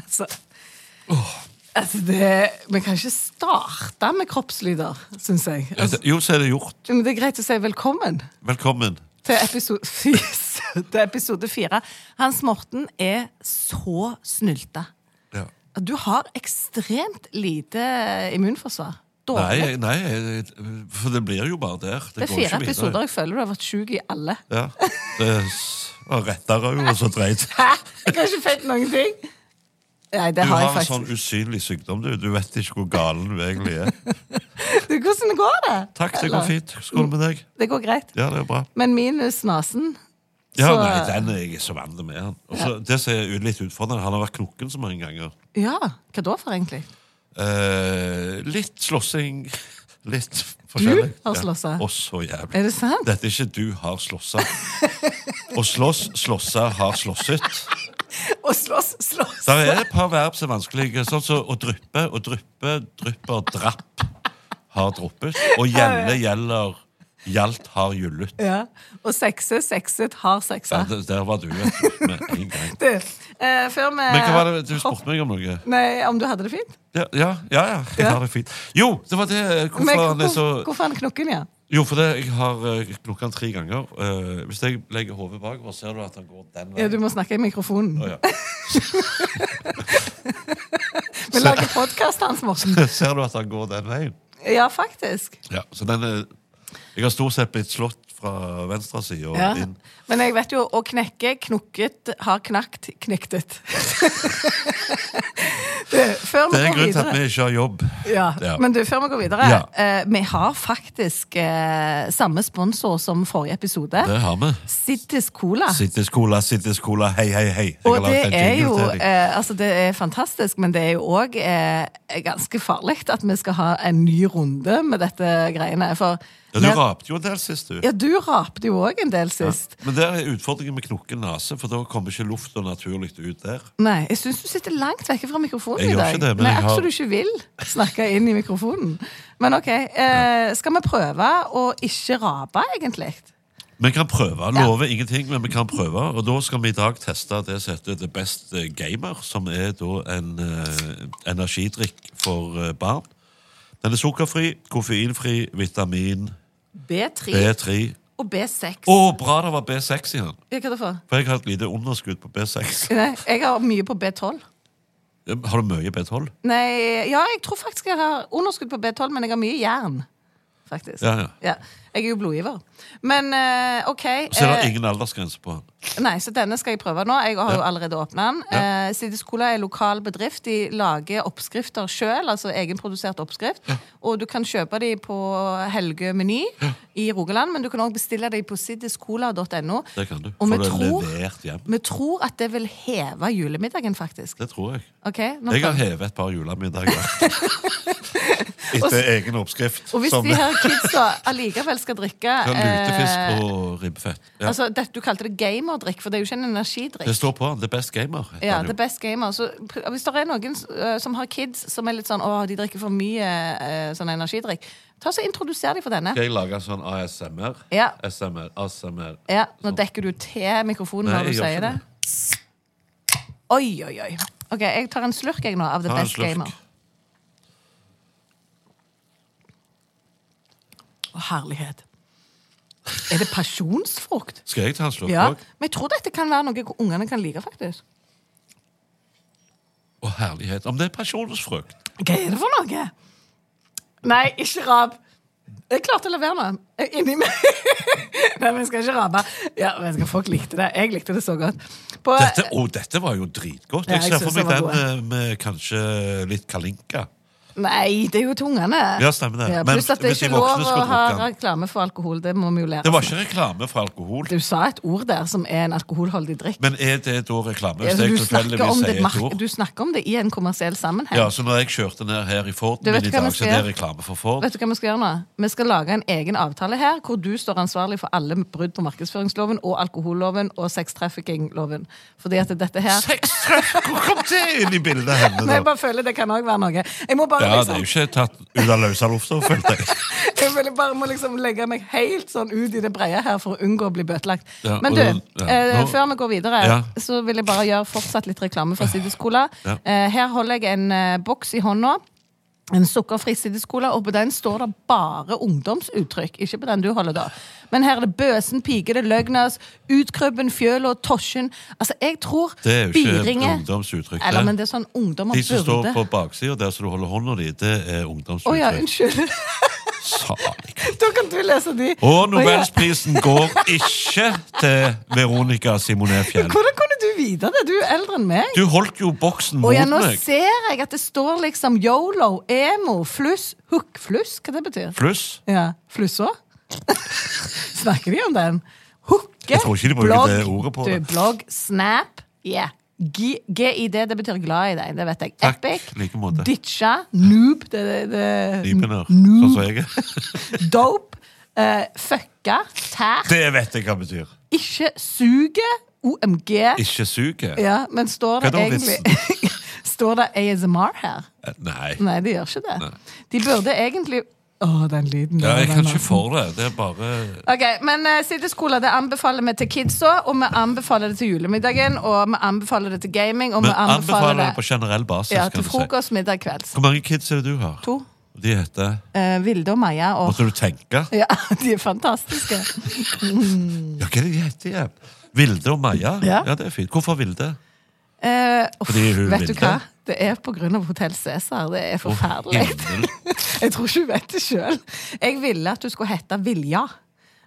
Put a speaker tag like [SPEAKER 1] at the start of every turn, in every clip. [SPEAKER 1] Altså, altså det, Vi kan ikke starte med kroppslyder, syns jeg. Altså,
[SPEAKER 2] Eh, Jo, så er det gjort.
[SPEAKER 1] men det er greit å si velkommen
[SPEAKER 2] Velkommen.
[SPEAKER 1] til episode, til episode fire. Hans Morten er så snylta.
[SPEAKER 2] Ja.
[SPEAKER 1] Du har ekstremt lite immunforsvar. Dårlig.
[SPEAKER 2] Nei, nei, jeg- for det blir jo bare der.
[SPEAKER 1] det er
[SPEAKER 2] går
[SPEAKER 1] fire
[SPEAKER 2] ikke videre.
[SPEAKER 1] episoder jeg føler du har vært sjuk i alle.
[SPEAKER 2] Ja. Det s- var rettere jo, og så dreit.
[SPEAKER 1] Hæ? Jeg har ikke fått noen ting! Nei, det har
[SPEAKER 2] Du har
[SPEAKER 1] jeg
[SPEAKER 2] en sånn
[SPEAKER 1] faktisk.
[SPEAKER 2] usynlig sykdom, du. Du vet ikke hvor galen du egentlig er.
[SPEAKER 1] Du, Hvordan går det?
[SPEAKER 2] Takk, det går fint. Skål med deg.
[SPEAKER 1] Det går greit.
[SPEAKER 2] Ja, det er bra.
[SPEAKER 1] Men minus nasen.
[SPEAKER 2] Ja,
[SPEAKER 1] Så-
[SPEAKER 2] nei, den er jeg så vant med. han. Og så, Det som er ut- litt utfordrende, han har vært knokken så mange ganger.
[SPEAKER 1] Ja, hva da for egentlig?
[SPEAKER 2] Eh, litt slåssing, litt forskjellig.
[SPEAKER 1] har slåssa?
[SPEAKER 2] Ja, og så jævlig.
[SPEAKER 1] Er det sant?
[SPEAKER 2] Dette er ikke du har slåssa. Å slåss, slåssa, har slåsset.
[SPEAKER 1] Å slåss, slåss!
[SPEAKER 2] Der er et par verb som er vanskelige. Sånn som å dryppe, å dryppe, drypper, drapp. Har droppet. Og gjelde gjelder, gjaldt har gyllet.
[SPEAKER 1] Ja. Og sekse, sekset, har
[SPEAKER 2] Ja,
[SPEAKER 1] seksa.
[SPEAKER 2] der, der var du vet du, med en gang.
[SPEAKER 1] Du, eh, før vi
[SPEAKER 2] Men hva var det du spurte meg om noe?
[SPEAKER 1] Nei, om du hadde det fint?
[SPEAKER 2] Ja, ja, ja, ja jeg har det fint. Jo, det var det. Hvorfor
[SPEAKER 1] Men
[SPEAKER 2] han er så
[SPEAKER 1] hvor- hvorfor er han knokken, ja?
[SPEAKER 2] Jo, for det, jeg har eh, knukket han tre ganger. Eh, hvis jeg legger hodet bakover, ser du at han går den
[SPEAKER 1] ja?
[SPEAKER 2] veien.
[SPEAKER 1] Du må snakke i mikrofonen.
[SPEAKER 2] Å, ja.
[SPEAKER 1] Vi lager podkast, Hans Morten.
[SPEAKER 2] Ser du at han går den veien?
[SPEAKER 1] Ja, faktisk.
[SPEAKER 2] Ja, så den er, Jeg har stort sett blitt slått fra venstre side og
[SPEAKER 1] Ja.
[SPEAKER 2] inn.
[SPEAKER 1] Men jeg vet jo å knekke, knukket, har knakt, knektet. du, før vi
[SPEAKER 2] Det er en
[SPEAKER 1] går
[SPEAKER 2] grunn til
[SPEAKER 1] videre
[SPEAKER 2] at vi ikke har jobb.
[SPEAKER 1] Ja,
[SPEAKER 2] Ja.
[SPEAKER 1] Men du, før vi går videre.
[SPEAKER 2] Ja.
[SPEAKER 1] Eh, vi har faktisk eh, samme sponsor som forrige episode.
[SPEAKER 2] Det har vi.
[SPEAKER 1] Citis Cola.
[SPEAKER 2] Sittes cola, sittes cola, hei, hei, hei. Jeg
[SPEAKER 1] og
[SPEAKER 2] har
[SPEAKER 1] det
[SPEAKER 2] laget en
[SPEAKER 1] er
[SPEAKER 2] jingle
[SPEAKER 1] jo
[SPEAKER 2] til deg.
[SPEAKER 1] eh, altså det er fantastisk, men det er jo òg eh, ganske farlig at vi skal ha en ny runde med dette greiene. For
[SPEAKER 2] ja, Du rapte jo en del sist, du.
[SPEAKER 1] ja, du rapte jo òg en del sist.
[SPEAKER 2] Men der er utfordringen med knokken nese, for da kommer ikke lufta naturlig ut der.
[SPEAKER 1] Nei, jeg syns du sitter langt vekke fra mikrofonen
[SPEAKER 2] Jeg
[SPEAKER 1] i
[SPEAKER 2] gjør
[SPEAKER 1] dag.
[SPEAKER 2] ikke det, men
[SPEAKER 1] Nei,
[SPEAKER 2] jeg har-
[SPEAKER 1] absolutt ikke vil snakke inn i mikrofonen. Men OK. Eh, skal vi prøve å ikke rape, egentlig?
[SPEAKER 2] Vi kan prøve. Lover ingenting, men vi kan prøve. Og da skal vi i dag teste det som heter The Best eh, Gamer, som er da en eh, energidrikk for eh, barn. Den er sukkerfri, koffeinfri, vitamin
[SPEAKER 1] B3
[SPEAKER 2] B3.
[SPEAKER 1] og B6.
[SPEAKER 2] Å, bra det var B6 i den!
[SPEAKER 1] Ja, Hva er det for?
[SPEAKER 2] For jeg har et lite underskudd på B6.
[SPEAKER 1] Nei, jeg har mye på B12.
[SPEAKER 2] Har du mye B12?
[SPEAKER 1] Nei, ja, jeg tror faktisk jeg har underskudd på B12, men jeg har mye jern. Faktisk.
[SPEAKER 2] Ja, ja.
[SPEAKER 1] Jeg er jo blodgiver. Men eh, OK.
[SPEAKER 2] Så er det
[SPEAKER 1] eh,
[SPEAKER 2] ingen aldersgrense på den.
[SPEAKER 1] Nei, så denne skal jeg prøve nå. Jeg har jo
[SPEAKER 2] Ja.
[SPEAKER 1] allerede åpna den.
[SPEAKER 2] Ja.
[SPEAKER 1] Eh, Sidis Cola er en lokal bedrift. De lager oppskrifter sjøl, altså egenprodusert oppskrift. Og du kan kjøpe de på Helgø Meny i Rogaland, men du kan òg bestille de på siddiscola.no.
[SPEAKER 2] Det kan du.
[SPEAKER 1] Og vi
[SPEAKER 2] Får det
[SPEAKER 1] tror,
[SPEAKER 2] levert hjem.
[SPEAKER 1] vi tror at det vil heve julemiddagen, faktisk.
[SPEAKER 2] Det tror jeg.
[SPEAKER 1] Ok? Nå
[SPEAKER 2] Jeg har
[SPEAKER 1] prøver-
[SPEAKER 2] hevet et par julemiddager. Etter egen oppskrift.
[SPEAKER 1] og hvis
[SPEAKER 2] som-
[SPEAKER 1] de her kidsa allikevel skal drikke
[SPEAKER 2] Ja, Lutefisk
[SPEAKER 1] eh,
[SPEAKER 2] og ribbefett. Ja.
[SPEAKER 1] altså, det, Du kalte det gamerdrikk, for det er jo ikke en energidrikk.
[SPEAKER 2] det står på han. The Best Gamer. heter
[SPEAKER 1] Ja,
[SPEAKER 2] han jo.
[SPEAKER 1] the best gamer. Så, pr- hvis det er noen eh, som har kids som er litt sånn åh, de drikker for mye eh, sånn energidrikk, ta så introduser de for denne.
[SPEAKER 2] Skal jeg lage sånn ASMR?
[SPEAKER 1] Ja.
[SPEAKER 2] SMR, ASMR.
[SPEAKER 1] Ja, Nå dekker du til mikrofonen
[SPEAKER 2] Nei,
[SPEAKER 1] når du
[SPEAKER 2] jeg gjør ikke
[SPEAKER 1] sier det. Oi, oi, oi. Ok, Jeg tar en slurk jeg nå av The
[SPEAKER 2] Ta en
[SPEAKER 1] Best
[SPEAKER 2] slurk.
[SPEAKER 1] Gamer. Å, herlighet. Er det pasjonsfrukt?
[SPEAKER 2] Skal jeg ta en slurk
[SPEAKER 1] Ja.
[SPEAKER 2] òg?
[SPEAKER 1] Men jeg tror dette kan være noe ungene kan like, faktisk.
[SPEAKER 2] Å, herlighet. Om det er pasjonsfrukt.
[SPEAKER 1] Hva er det for noe? Nei, ikke rap. Jeg klarte å levere noe. Jeg- Inni meg. Nei, men jeg skal ikke rape. Ja, men jeg skal, Folk likte det. Jeg likte det så godt. På,
[SPEAKER 2] Dette, å, dette var jo dritgodt.
[SPEAKER 1] Ja,
[SPEAKER 2] Jeg
[SPEAKER 1] jeg
[SPEAKER 2] ser for
[SPEAKER 1] synes
[SPEAKER 2] meg
[SPEAKER 1] det
[SPEAKER 2] den
[SPEAKER 1] var
[SPEAKER 2] eh, med kanskje litt kalinka.
[SPEAKER 1] Nei, det er jo tungene.
[SPEAKER 2] Ja, stemmer det.
[SPEAKER 1] Ja,
[SPEAKER 2] Men
[SPEAKER 1] pluss at det
[SPEAKER 2] hvis
[SPEAKER 1] er
[SPEAKER 2] de
[SPEAKER 1] ikke lov
[SPEAKER 2] voksne
[SPEAKER 1] å
[SPEAKER 2] skulle drukke
[SPEAKER 1] ha
[SPEAKER 2] den.
[SPEAKER 1] reklame for alkohol. Det må vi jo lære.
[SPEAKER 2] Det var
[SPEAKER 1] oss.
[SPEAKER 2] ikke reklame for alkohol.
[SPEAKER 1] Du sa et ord der som er en alkoholholdig drikk.
[SPEAKER 2] Men er det da reklame?
[SPEAKER 1] Ja,
[SPEAKER 2] Hvis
[SPEAKER 1] så
[SPEAKER 2] jeg
[SPEAKER 1] du, snakker
[SPEAKER 2] tilfeldigvis
[SPEAKER 1] om
[SPEAKER 2] sier
[SPEAKER 1] det,
[SPEAKER 2] et
[SPEAKER 1] mark-
[SPEAKER 2] ord?
[SPEAKER 1] du snakker om det i en kommersiell sammenheng.
[SPEAKER 2] Ja, så når jeg kjørte ned her i Forden
[SPEAKER 1] Du vet
[SPEAKER 2] min i
[SPEAKER 1] hva vi
[SPEAKER 2] dag, så
[SPEAKER 1] skal
[SPEAKER 2] det er
[SPEAKER 1] gjøre?
[SPEAKER 2] reklame for Ford.
[SPEAKER 1] Vet du hva Vi skal gjøre nå? Vi skal lage en egen avtale her, hvor du står ansvarlig for alle brudd på markedsføringsloven og alkoholloven og sextrafficking-loven. Fordi at dette her
[SPEAKER 2] Sextreff! Hvor kom det inn i bildet henne?
[SPEAKER 1] Nei,
[SPEAKER 2] da?
[SPEAKER 1] jeg bare føler Det kan òg være noe. Jeg må bare,
[SPEAKER 2] Ja, det er
[SPEAKER 1] liksom,
[SPEAKER 2] jo ikke tatt ut av løse lufta, følte jeg.
[SPEAKER 1] jeg føler jeg bare må liksom legge meg helt sånn ut i det brede her for å unngå å bli bøtelagt.
[SPEAKER 2] Ja,
[SPEAKER 1] Men
[SPEAKER 2] og
[SPEAKER 1] du,
[SPEAKER 2] da- ja,
[SPEAKER 1] eh,
[SPEAKER 2] nå-
[SPEAKER 1] før vi går videre,
[SPEAKER 2] Ja.
[SPEAKER 1] så vil jeg bare gjøre fortsatt litt reklame for Sideskola.
[SPEAKER 2] Ja.
[SPEAKER 1] Eh, her holder jeg en eh, boks i hånda. En sukkerfri sideskola, og på den står det bare ungdomsuttrykk. Ikke på den du holder, da. Men her er det Bøsen, Pike, det er Løgnas, Utkrøbben, Fjøla, Tosjen Altså, jeg tror
[SPEAKER 2] Det er jo ikke
[SPEAKER 1] Biringe-
[SPEAKER 2] ungdomsuttrykk, det.
[SPEAKER 1] Eller, men det er sånn ungdommer
[SPEAKER 2] De som står
[SPEAKER 1] burde
[SPEAKER 2] på baksida der som du holder hånda di, det er
[SPEAKER 1] Å ja,
[SPEAKER 2] ungdomsuttrykk.
[SPEAKER 1] unnskyld.
[SPEAKER 2] Salig.
[SPEAKER 1] da kan du lese de.
[SPEAKER 2] Og
[SPEAKER 1] Å ja.
[SPEAKER 2] Nobelsprisen går ikke til Veronica Simonet Fjell.
[SPEAKER 1] Hvordan kunne du vite det? Du er eldre enn meg.
[SPEAKER 2] Du holdt jo boksen
[SPEAKER 1] Å
[SPEAKER 2] mot
[SPEAKER 1] ja, nå
[SPEAKER 2] meg.
[SPEAKER 1] ser jeg at det står liksom yolo, emo, fluss, hook, fluss. Hva det betyr?
[SPEAKER 2] Pluss.
[SPEAKER 1] Ja, Flussa? Snakker de om den? Hooke,
[SPEAKER 2] Jeg tror ikke de bruker
[SPEAKER 1] blogg,
[SPEAKER 2] det ordet på
[SPEAKER 1] du,
[SPEAKER 2] det.
[SPEAKER 1] blogg, snap, yeah. G- GID, det betyr glad i deg, det vet jeg.
[SPEAKER 2] Takk,
[SPEAKER 1] Epic,
[SPEAKER 2] like måte.
[SPEAKER 1] ditcha, noob, det, det, det,
[SPEAKER 2] Nypener, sånn som jeg er.
[SPEAKER 1] dope, eh, fucka, tær,
[SPEAKER 2] Det vet jeg hva betyr.
[SPEAKER 1] ikke suge, OMG.
[SPEAKER 2] Ikke eh, suget.
[SPEAKER 1] Ja, men står det
[SPEAKER 2] Hva er da
[SPEAKER 1] egentlig Står det ASMR her?
[SPEAKER 2] eh, Nei.
[SPEAKER 1] Nei, det gjør ikke det. De burde egentlig Å, den lyden.
[SPEAKER 2] Ja,
[SPEAKER 1] der,
[SPEAKER 2] jeg
[SPEAKER 1] den
[SPEAKER 2] kan ikke
[SPEAKER 1] nasen.
[SPEAKER 2] for det. Det er bare
[SPEAKER 1] Ok, men uh, Sideskola det anbefaler vi til kidsa, og vi anbefaler det til julemiddagen, og vi anbefaler det til gaming, og vi
[SPEAKER 2] Men
[SPEAKER 1] anbefaler,
[SPEAKER 2] anbefaler det på generell basis,
[SPEAKER 1] ja,
[SPEAKER 2] kan
[SPEAKER 1] til
[SPEAKER 2] du si.
[SPEAKER 1] frokost, middag, kvelds.
[SPEAKER 2] Hvor mange kids er det du har?
[SPEAKER 1] To.
[SPEAKER 2] De heter
[SPEAKER 1] Eh, Vilde og Maja og
[SPEAKER 2] Måtte du tenke?
[SPEAKER 1] Ja, de er fantastiske.
[SPEAKER 2] Ja, hva er det de heter igjen? Vilde og Maja?
[SPEAKER 1] Ja.
[SPEAKER 2] det er fint. Hvorfor Vilde?
[SPEAKER 1] Eh, uff,
[SPEAKER 2] Fordi hun
[SPEAKER 1] vet du
[SPEAKER 2] Vilde?
[SPEAKER 1] hva? Det er på grunn av Hotell Cæsar. Det er forferdelig.
[SPEAKER 2] himmel.
[SPEAKER 1] jeg tror ikke hun vet det sjøl. Jeg ville at du skulle hete Vilja,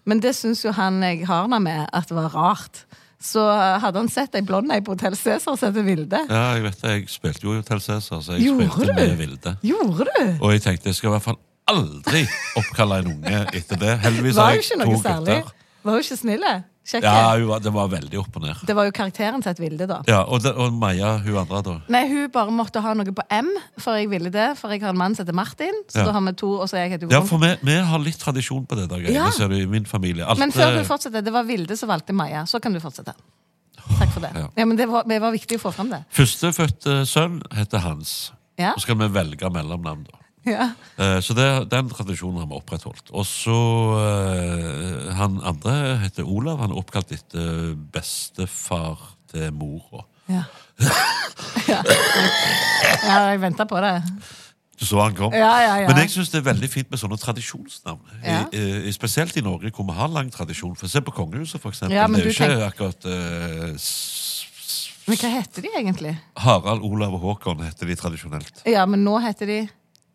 [SPEAKER 1] men det syns jo han jeg har henne med, at det var rart. Så hadde han sett ei blond ei på Hotell Cæsar som heter Vilde.
[SPEAKER 2] Ja, jeg vet det. Jeg spilte jo i Hotel Cæsar, så jeg
[SPEAKER 1] Gjorde
[SPEAKER 2] spilte med
[SPEAKER 1] du?
[SPEAKER 2] Vilde.
[SPEAKER 1] Gjorde du?
[SPEAKER 2] Og jeg tenkte jeg skal i hvert fall aldri oppkalle en unge etter det. Heldigvis
[SPEAKER 1] Var
[SPEAKER 2] har
[SPEAKER 1] jo
[SPEAKER 2] jeg
[SPEAKER 1] ikke
[SPEAKER 2] to
[SPEAKER 1] noe særlig.
[SPEAKER 2] gutter.
[SPEAKER 1] Var jo ikke snille. Kjekke.
[SPEAKER 2] Ja, hun var, det var veldig opp og ned.
[SPEAKER 1] Det var jo karakteren til et Vilde, da.
[SPEAKER 2] Ja, og, det, og Maja, hun andre, da.
[SPEAKER 1] Nei, hun bare måtte ha noe på M, for jeg ville det. For jeg har en mann som heter Martin. Så
[SPEAKER 2] Ja.
[SPEAKER 1] da har vi to, og så er jeg heter
[SPEAKER 2] Ja, for vi, vi har litt tradisjon på det der greiene,
[SPEAKER 1] Ja.
[SPEAKER 2] ser du, i min familie. Alt,
[SPEAKER 1] Men før
[SPEAKER 2] eh,
[SPEAKER 1] du fortsetter, det var Vilde som valgte Maja. Så kan du fortsette. Takk for det.
[SPEAKER 2] Ja.
[SPEAKER 1] Ja, men det var, det var viktig å få fram det.
[SPEAKER 2] Førstefødte sønn heter Hans.
[SPEAKER 1] Ja.
[SPEAKER 2] Så skal vi velge mellomnavn, da.
[SPEAKER 1] Ja.
[SPEAKER 2] Eh, Så det, den tradisjonen har vi opprettholdt. Og så eh, Han andre heter Olav. Han er oppkalt etter bestefar til mora.
[SPEAKER 1] Ja. ja. ja jeg venta på det.
[SPEAKER 2] Du så han kom.
[SPEAKER 1] Ja, ja, ja.
[SPEAKER 2] Men jeg syns det er veldig fint med sånne tradisjonsnavn.
[SPEAKER 1] Ja.
[SPEAKER 2] I, eh, spesielt i Norge, hvor vi har lang tradisjon. For Se på kongehuset, for eksempel.
[SPEAKER 1] Ja, men
[SPEAKER 2] det er jo
[SPEAKER 1] du
[SPEAKER 2] ikke akkurat eh, s- s-
[SPEAKER 1] Men hva heter de egentlig?
[SPEAKER 2] Harald, Olav og Håkon heter de tradisjonelt.
[SPEAKER 1] Ja, men nå heter de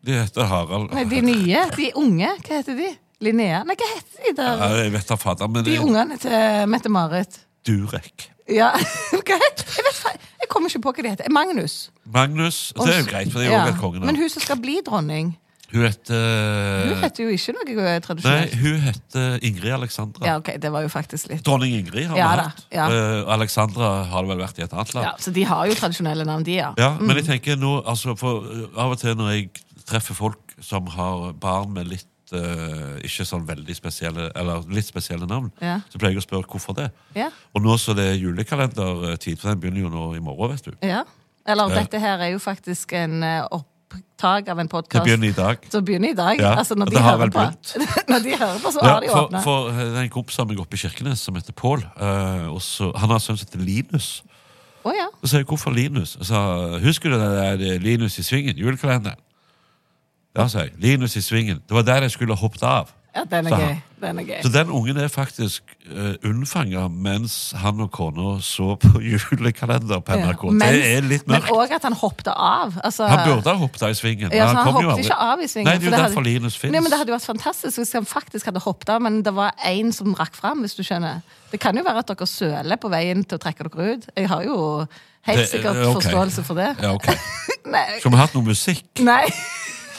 [SPEAKER 2] De heter Harald
[SPEAKER 1] Nei, de nye. De unge. Hva heter de? Linnea Nei, hva heter de der?
[SPEAKER 2] Ja, jeg vet da fader, men
[SPEAKER 1] De ungene til Mette-Marit.
[SPEAKER 2] Durek.
[SPEAKER 1] Ja, hva heter Jeg vet fa- Jeg kommer ikke på hva de heter. Magnus.
[SPEAKER 2] Magnus. Det er jo greit, for det er jo
[SPEAKER 1] Ja.
[SPEAKER 2] også et kongenavn.
[SPEAKER 1] Men hun som skal bli dronning,
[SPEAKER 2] Hun heter
[SPEAKER 1] hun heter jo ikke noe
[SPEAKER 2] Eh. Nei,
[SPEAKER 1] tradisjonelt.
[SPEAKER 2] hun heter Ingrid Alexandra.
[SPEAKER 1] Ja, ok, det var jo faktisk litt
[SPEAKER 2] Dronning Ingrid har
[SPEAKER 1] Ja
[SPEAKER 2] vi
[SPEAKER 1] da,
[SPEAKER 2] hatt.
[SPEAKER 1] ja.
[SPEAKER 2] Eh, Alexandra har det vel vært i et annet land.
[SPEAKER 1] ja, Mm. Så de har jo tradisjonelle navn, de, ja.
[SPEAKER 2] Ja, men jeg tenker nå, altså for eh, Av og til når jeg treffer folk som har barn med litt eh, ikke sånn veldig spesielle Eller litt spesielle navn,
[SPEAKER 1] Ja.
[SPEAKER 2] så pleier jeg å spørre hvorfor det.
[SPEAKER 1] Ja.
[SPEAKER 2] Og nå så det er julekalendertid, for den begynner jo nå i morgen, vet du.
[SPEAKER 1] Ja. Eller dette her er jo faktisk en eh, opptak av en podkast.
[SPEAKER 2] Det begynner i dag.
[SPEAKER 1] Så begynner i dag.
[SPEAKER 2] Ja,
[SPEAKER 1] altså når
[SPEAKER 2] og
[SPEAKER 1] de,
[SPEAKER 2] det har
[SPEAKER 1] hører
[SPEAKER 2] vel
[SPEAKER 1] på, når de hører på, så
[SPEAKER 2] Ja,
[SPEAKER 1] har de
[SPEAKER 2] for,
[SPEAKER 1] åpna.
[SPEAKER 2] for eh, det er en kompis av meg oppe i Kirkenes som heter Pål. eh, og så- han har en sønn som heter Linus.
[SPEAKER 1] Å ja.
[SPEAKER 2] Og så sa jeg, hvorfor Linus? Og sa, husker du det der eh, Linus i svingen, julekalenderen? Ja, sa jeg. Linus i svingen. Det var der jeg skulle hoppet av.
[SPEAKER 1] ja, den er
[SPEAKER 2] sa han.
[SPEAKER 1] gøy. Den er gøy.
[SPEAKER 2] Så den ungen er faktisk uh, unnfanga mens han og kona så på julekalender på
[SPEAKER 1] Ja.
[SPEAKER 2] NRK.
[SPEAKER 1] Men-
[SPEAKER 2] Det er litt mørkt.
[SPEAKER 1] Men òg at han hoppet av. Altså,
[SPEAKER 2] han burde ha hoppet av i svingen. men
[SPEAKER 1] ja, så han
[SPEAKER 2] kom jo
[SPEAKER 1] hoppet
[SPEAKER 2] aldri.
[SPEAKER 1] ikke av i svingen.
[SPEAKER 2] Nei, det
[SPEAKER 1] for
[SPEAKER 2] er jo
[SPEAKER 1] hadde-
[SPEAKER 2] derfor Linus fins.
[SPEAKER 1] Nei, men Det hadde jo vært fantastisk hvis han faktisk hadde hoppet av, men det var én som rakk fram, hvis du skjønner. Det kan jo være at dere søler på veien til å trekke dere ut. Jeg har jo helt sikkert forståelse for det.
[SPEAKER 2] Ja, ok.
[SPEAKER 1] Nei.
[SPEAKER 2] Skulle vi hatt noe musikk?
[SPEAKER 1] Nei.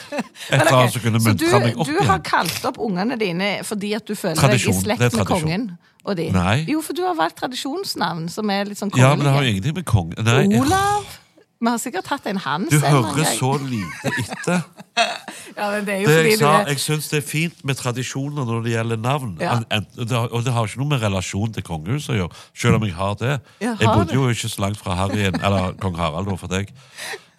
[SPEAKER 2] Et eller annet som kunne
[SPEAKER 1] Så du,
[SPEAKER 2] muntra meg opp
[SPEAKER 1] du har
[SPEAKER 2] igjen?
[SPEAKER 1] kalt opp ungene dine fordi at du føler
[SPEAKER 2] Tradisjon.
[SPEAKER 1] deg i
[SPEAKER 2] Det er
[SPEAKER 1] slekt med
[SPEAKER 2] tradisjon.
[SPEAKER 1] kongen? Og de.
[SPEAKER 2] Nei.
[SPEAKER 1] Jo, for du har valgt tradisjonsnavn som er litt sånn
[SPEAKER 2] Ja, men det har jo
[SPEAKER 1] kongelige.
[SPEAKER 2] ingenting med kong... Nei, jeg-
[SPEAKER 1] Olav. Vi har sikkert hatt en Hans.
[SPEAKER 2] du
[SPEAKER 1] en eller annen
[SPEAKER 2] hører
[SPEAKER 1] gang.
[SPEAKER 2] så lite etter.
[SPEAKER 1] ja, men det er jo
[SPEAKER 2] Det
[SPEAKER 1] fordi
[SPEAKER 2] jeg sa,
[SPEAKER 1] du er
[SPEAKER 2] jeg syns det er fint med tradisjoner når det gjelder navn.
[SPEAKER 1] Ja.
[SPEAKER 2] En- en- det har- Og det har ikke noe med relasjon til kongehuset å gjøre, selv om jeg har det.
[SPEAKER 1] Ja,
[SPEAKER 2] jeg
[SPEAKER 1] har
[SPEAKER 2] bodde
[SPEAKER 1] det.
[SPEAKER 2] jo ikke så langt fra Harryen, eller kong Harald, da, for deg,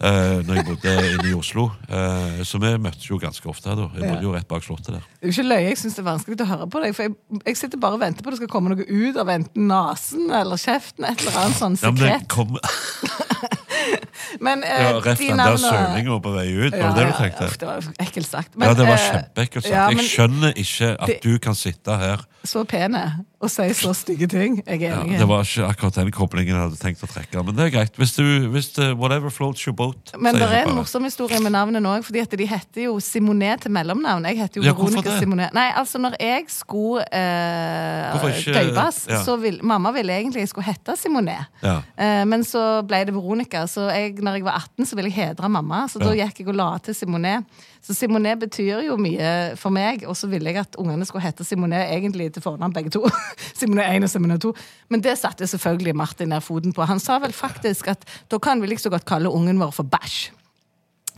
[SPEAKER 2] eh, når jeg bodde inne i Oslo. Eh, så vi møttes jo ganske ofte. da. Jeg bodde jo rett bak slottet der.
[SPEAKER 1] Det er jo ikke løye, jeg syns det er vanskelig å høre på deg. For jeg, jeg sitter bare og venter på at det skal komme noe ut av enten nesen eller kjeften. Et eller annet sånn
[SPEAKER 2] Ja, men
[SPEAKER 1] sekret.
[SPEAKER 2] det kom
[SPEAKER 1] Men, eh,
[SPEAKER 2] ja, rett
[SPEAKER 1] de
[SPEAKER 2] den der
[SPEAKER 1] navnene-
[SPEAKER 2] sølinga på vei ut, var
[SPEAKER 1] Ja,
[SPEAKER 2] det det du
[SPEAKER 1] ja,
[SPEAKER 2] tenkte?
[SPEAKER 1] uff, det var ekkelt sagt. Men,
[SPEAKER 2] ja, det var
[SPEAKER 1] eh,
[SPEAKER 2] kjempeekkelt sagt.
[SPEAKER 1] ja,
[SPEAKER 2] Jeg
[SPEAKER 1] men-
[SPEAKER 2] skjønner ikke at
[SPEAKER 1] Det-
[SPEAKER 2] du kan sitte her
[SPEAKER 1] så pene og sier så stygge ting. Jeg er
[SPEAKER 2] Ja,
[SPEAKER 1] enig.
[SPEAKER 2] det var ikke akkurat den koblingen jeg hadde tenkt å trekke. Men det er greit. Hvis du, hvis det, whatever floats your boat.
[SPEAKER 1] Men
[SPEAKER 2] sier
[SPEAKER 1] det er
[SPEAKER 2] jeg
[SPEAKER 1] en
[SPEAKER 2] bare.
[SPEAKER 1] morsom historie med navnet nå, fordi at de heter jo Simonet til mellomnavn. Jeg heter jo
[SPEAKER 2] Ja, hvorfor
[SPEAKER 1] Veronica
[SPEAKER 2] det?
[SPEAKER 1] Simonet. Nei, altså når jeg skulle eh,
[SPEAKER 2] Hvorfor ikke-
[SPEAKER 1] døpes,
[SPEAKER 2] ja.
[SPEAKER 1] så vil, mamma ville egentlig jeg skulle hete Simonet.
[SPEAKER 2] Ja.
[SPEAKER 1] Eh, men så ble det Veronica, så jeg, når jeg var 18 så ville jeg hedre mamma, så da
[SPEAKER 2] Ja.
[SPEAKER 1] gikk jeg og la til Simonet. Så Simonet betyr jo mye for meg, og så ville jeg at ungene skulle hete Simonet egentlig til fornavn begge to. Simonet 1 og Simonet 2. Men det satte selvfølgelig Martin ned foten på. Han sa vel faktisk at da kan vi like så godt kalle ungen vår for Bæsj.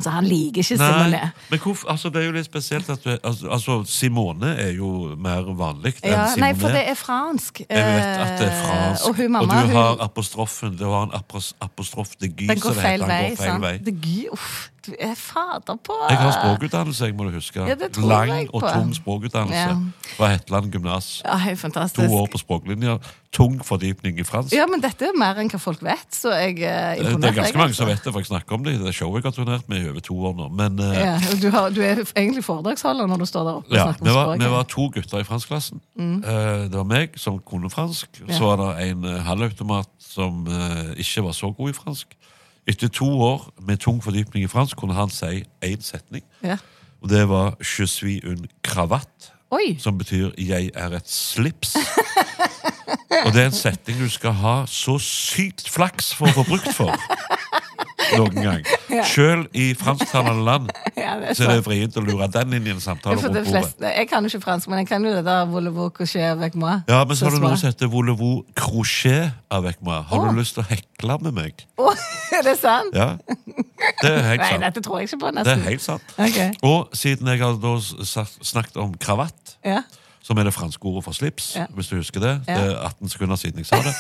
[SPEAKER 1] Så han liker ikke
[SPEAKER 2] Nei,
[SPEAKER 1] Simone.
[SPEAKER 2] men hvorf- altså, det er jo litt spesielt at du altså, altså, Simone er jo mer vanlig
[SPEAKER 1] Ja,
[SPEAKER 2] enn
[SPEAKER 1] nei,
[SPEAKER 2] Simone.
[SPEAKER 1] for det er fransk.
[SPEAKER 2] jeg vet at det er fransk.
[SPEAKER 1] Eh, Og hun mamma,
[SPEAKER 2] du
[SPEAKER 1] hun,
[SPEAKER 2] har apostrofen. Du har en apros, apostrof de gy,
[SPEAKER 1] den
[SPEAKER 2] som
[SPEAKER 1] går
[SPEAKER 2] det
[SPEAKER 1] feil
[SPEAKER 2] heter.
[SPEAKER 1] vei.
[SPEAKER 2] Den går feil
[SPEAKER 1] sant?
[SPEAKER 2] vei.
[SPEAKER 1] Det gir- uff, du er fader på eh,
[SPEAKER 2] Jeg har språkutdannelse, jeg må du huske.
[SPEAKER 1] Ja, det tror
[SPEAKER 2] Lang
[SPEAKER 1] jeg
[SPEAKER 2] og
[SPEAKER 1] på.
[SPEAKER 2] tung språkutdannelse
[SPEAKER 1] Ja.
[SPEAKER 2] fra Hetland gymnas.
[SPEAKER 1] Ja, helt fantastisk.
[SPEAKER 2] To år på språklinja. Tung fordypning i fransk.
[SPEAKER 1] Ja, men dette er mer enn hva folk vet, så jeg er
[SPEAKER 2] Eh, Det
[SPEAKER 1] imponert.
[SPEAKER 2] det er ganske
[SPEAKER 1] jeg,
[SPEAKER 2] mange
[SPEAKER 1] altså.
[SPEAKER 2] som vet det, for jeg snakker om det i det showet jeg har turnert med i over to år nå. Men eh,
[SPEAKER 1] Ja, og du, har, du er egentlig foredragsholder når du står der oppe og
[SPEAKER 2] ja,
[SPEAKER 1] snakker
[SPEAKER 2] vi,
[SPEAKER 1] om
[SPEAKER 2] var,
[SPEAKER 1] språket. Mm.
[SPEAKER 2] vi var to gutter i franskklassen. Eh, det var meg som kunne fransk. Så var det en eh, halvautomat som eh, ikke var så god i fransk. Etter to år med tung fordypning i fransk kunne han si én setning.
[SPEAKER 1] Ja.
[SPEAKER 2] Og det var 'je suis un cravate',
[SPEAKER 1] Oi!
[SPEAKER 2] som betyr 'jeg er et slips'. Og det er en setning du skal ha så sykt flaks for å få brukt for. Noen gang. Sjøl i fransktalende land
[SPEAKER 1] Ja, det er
[SPEAKER 2] så er det
[SPEAKER 1] sant.
[SPEAKER 2] vrient å lure den inn i en samtale
[SPEAKER 1] For de
[SPEAKER 2] rundt bordet.
[SPEAKER 1] fleste, jeg kan jo ikke fransk, men jeg kan jo det der Volevo coucher avec moi.
[SPEAKER 2] Ja, men så har du noe
[SPEAKER 1] smart.
[SPEAKER 2] som heter Volevo crochet avec moi. Har du lyst til å hekle med meg?
[SPEAKER 1] Å, Er det sant?
[SPEAKER 2] Ja, Det er helt
[SPEAKER 1] Nei,
[SPEAKER 2] sant.
[SPEAKER 1] dette tror jeg ikke på,
[SPEAKER 2] Det
[SPEAKER 1] nesten.
[SPEAKER 2] er helt sant.
[SPEAKER 1] Ok.
[SPEAKER 2] Og siden jeg har da s- sagt- snakket om kravatt,
[SPEAKER 1] Ja.
[SPEAKER 2] som er det franske ordet for slips,
[SPEAKER 1] Ja.
[SPEAKER 2] hvis du husker det
[SPEAKER 1] Ja.
[SPEAKER 2] Det er 18 sekunder siden jeg sa det.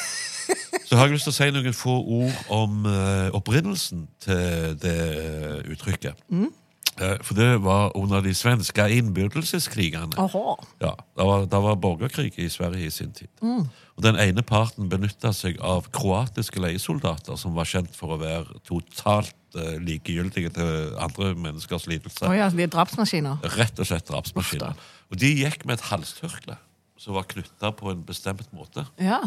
[SPEAKER 2] Så har jeg lyst til å si noen få ord om eh, opprinnelsen til det eh, uttrykket.
[SPEAKER 1] Mm.
[SPEAKER 2] Eh, for det var under de svenske innbydelseskrigene.
[SPEAKER 1] Åhå.
[SPEAKER 2] Ja, det var, det var borgerkrig i Sverige i sin tid.
[SPEAKER 1] Mm.
[SPEAKER 2] Og Den ene parten benytta seg av kroatiske leiesoldater, som var kjent for å være totalt eh, likegyldige til andre menneskers lidelse.
[SPEAKER 1] Å ja, de er drapsmaskiner.
[SPEAKER 2] Rett og slett drapsmaskiner. Og de gikk med et halstørkle som var knytta på en bestemt måte.
[SPEAKER 1] Ja.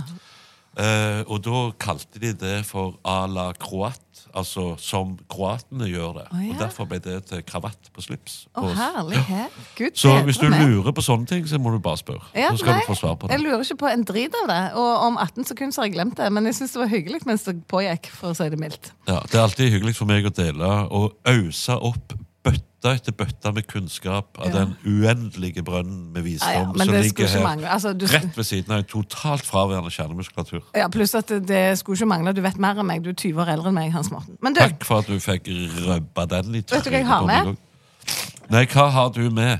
[SPEAKER 2] Eh, og da kalte de det for à la croat, altså som kroatene gjør det.
[SPEAKER 1] Å, ja.
[SPEAKER 2] Og Derfor ble det til kravatt på slips.
[SPEAKER 1] Å,
[SPEAKER 2] på oss.
[SPEAKER 1] herlighet. Gud
[SPEAKER 2] Så
[SPEAKER 1] bedre
[SPEAKER 2] hvis du
[SPEAKER 1] meg.
[SPEAKER 2] lurer på sånne ting, så må du bare spørre.
[SPEAKER 1] Ja,
[SPEAKER 2] så skal
[SPEAKER 1] nei,
[SPEAKER 2] du få svar på det.
[SPEAKER 1] Jeg lurer ikke på en drit av det. Og om 18 sekunder så har jeg glemt det. Men jeg syns det var hyggelig mens det pågikk, for å si det mildt.
[SPEAKER 2] Ja, det er alltid hyggelig for meg å dele og ause opp bøtta etter bøtta med kunnskap av den uendelige brønnen med
[SPEAKER 1] Ja, ja,
[SPEAKER 2] visdom
[SPEAKER 1] men
[SPEAKER 2] som
[SPEAKER 1] det
[SPEAKER 2] ligger
[SPEAKER 1] skulle ikke
[SPEAKER 2] her
[SPEAKER 1] mangle. Altså, du-
[SPEAKER 2] rett ved siden av en totalt fraværende kjernemuskulatur.
[SPEAKER 1] Ja, Pluss at det, det skulle ikke mangle. Du vet mer enn meg. Du er 20 år eldre enn meg, Hans Morten. Men du,
[SPEAKER 2] Takk for at du fikk røbba den i
[SPEAKER 1] hva jeg
[SPEAKER 2] trynet
[SPEAKER 1] har
[SPEAKER 2] på
[SPEAKER 1] med?
[SPEAKER 2] meg også. Nei, hva har du med?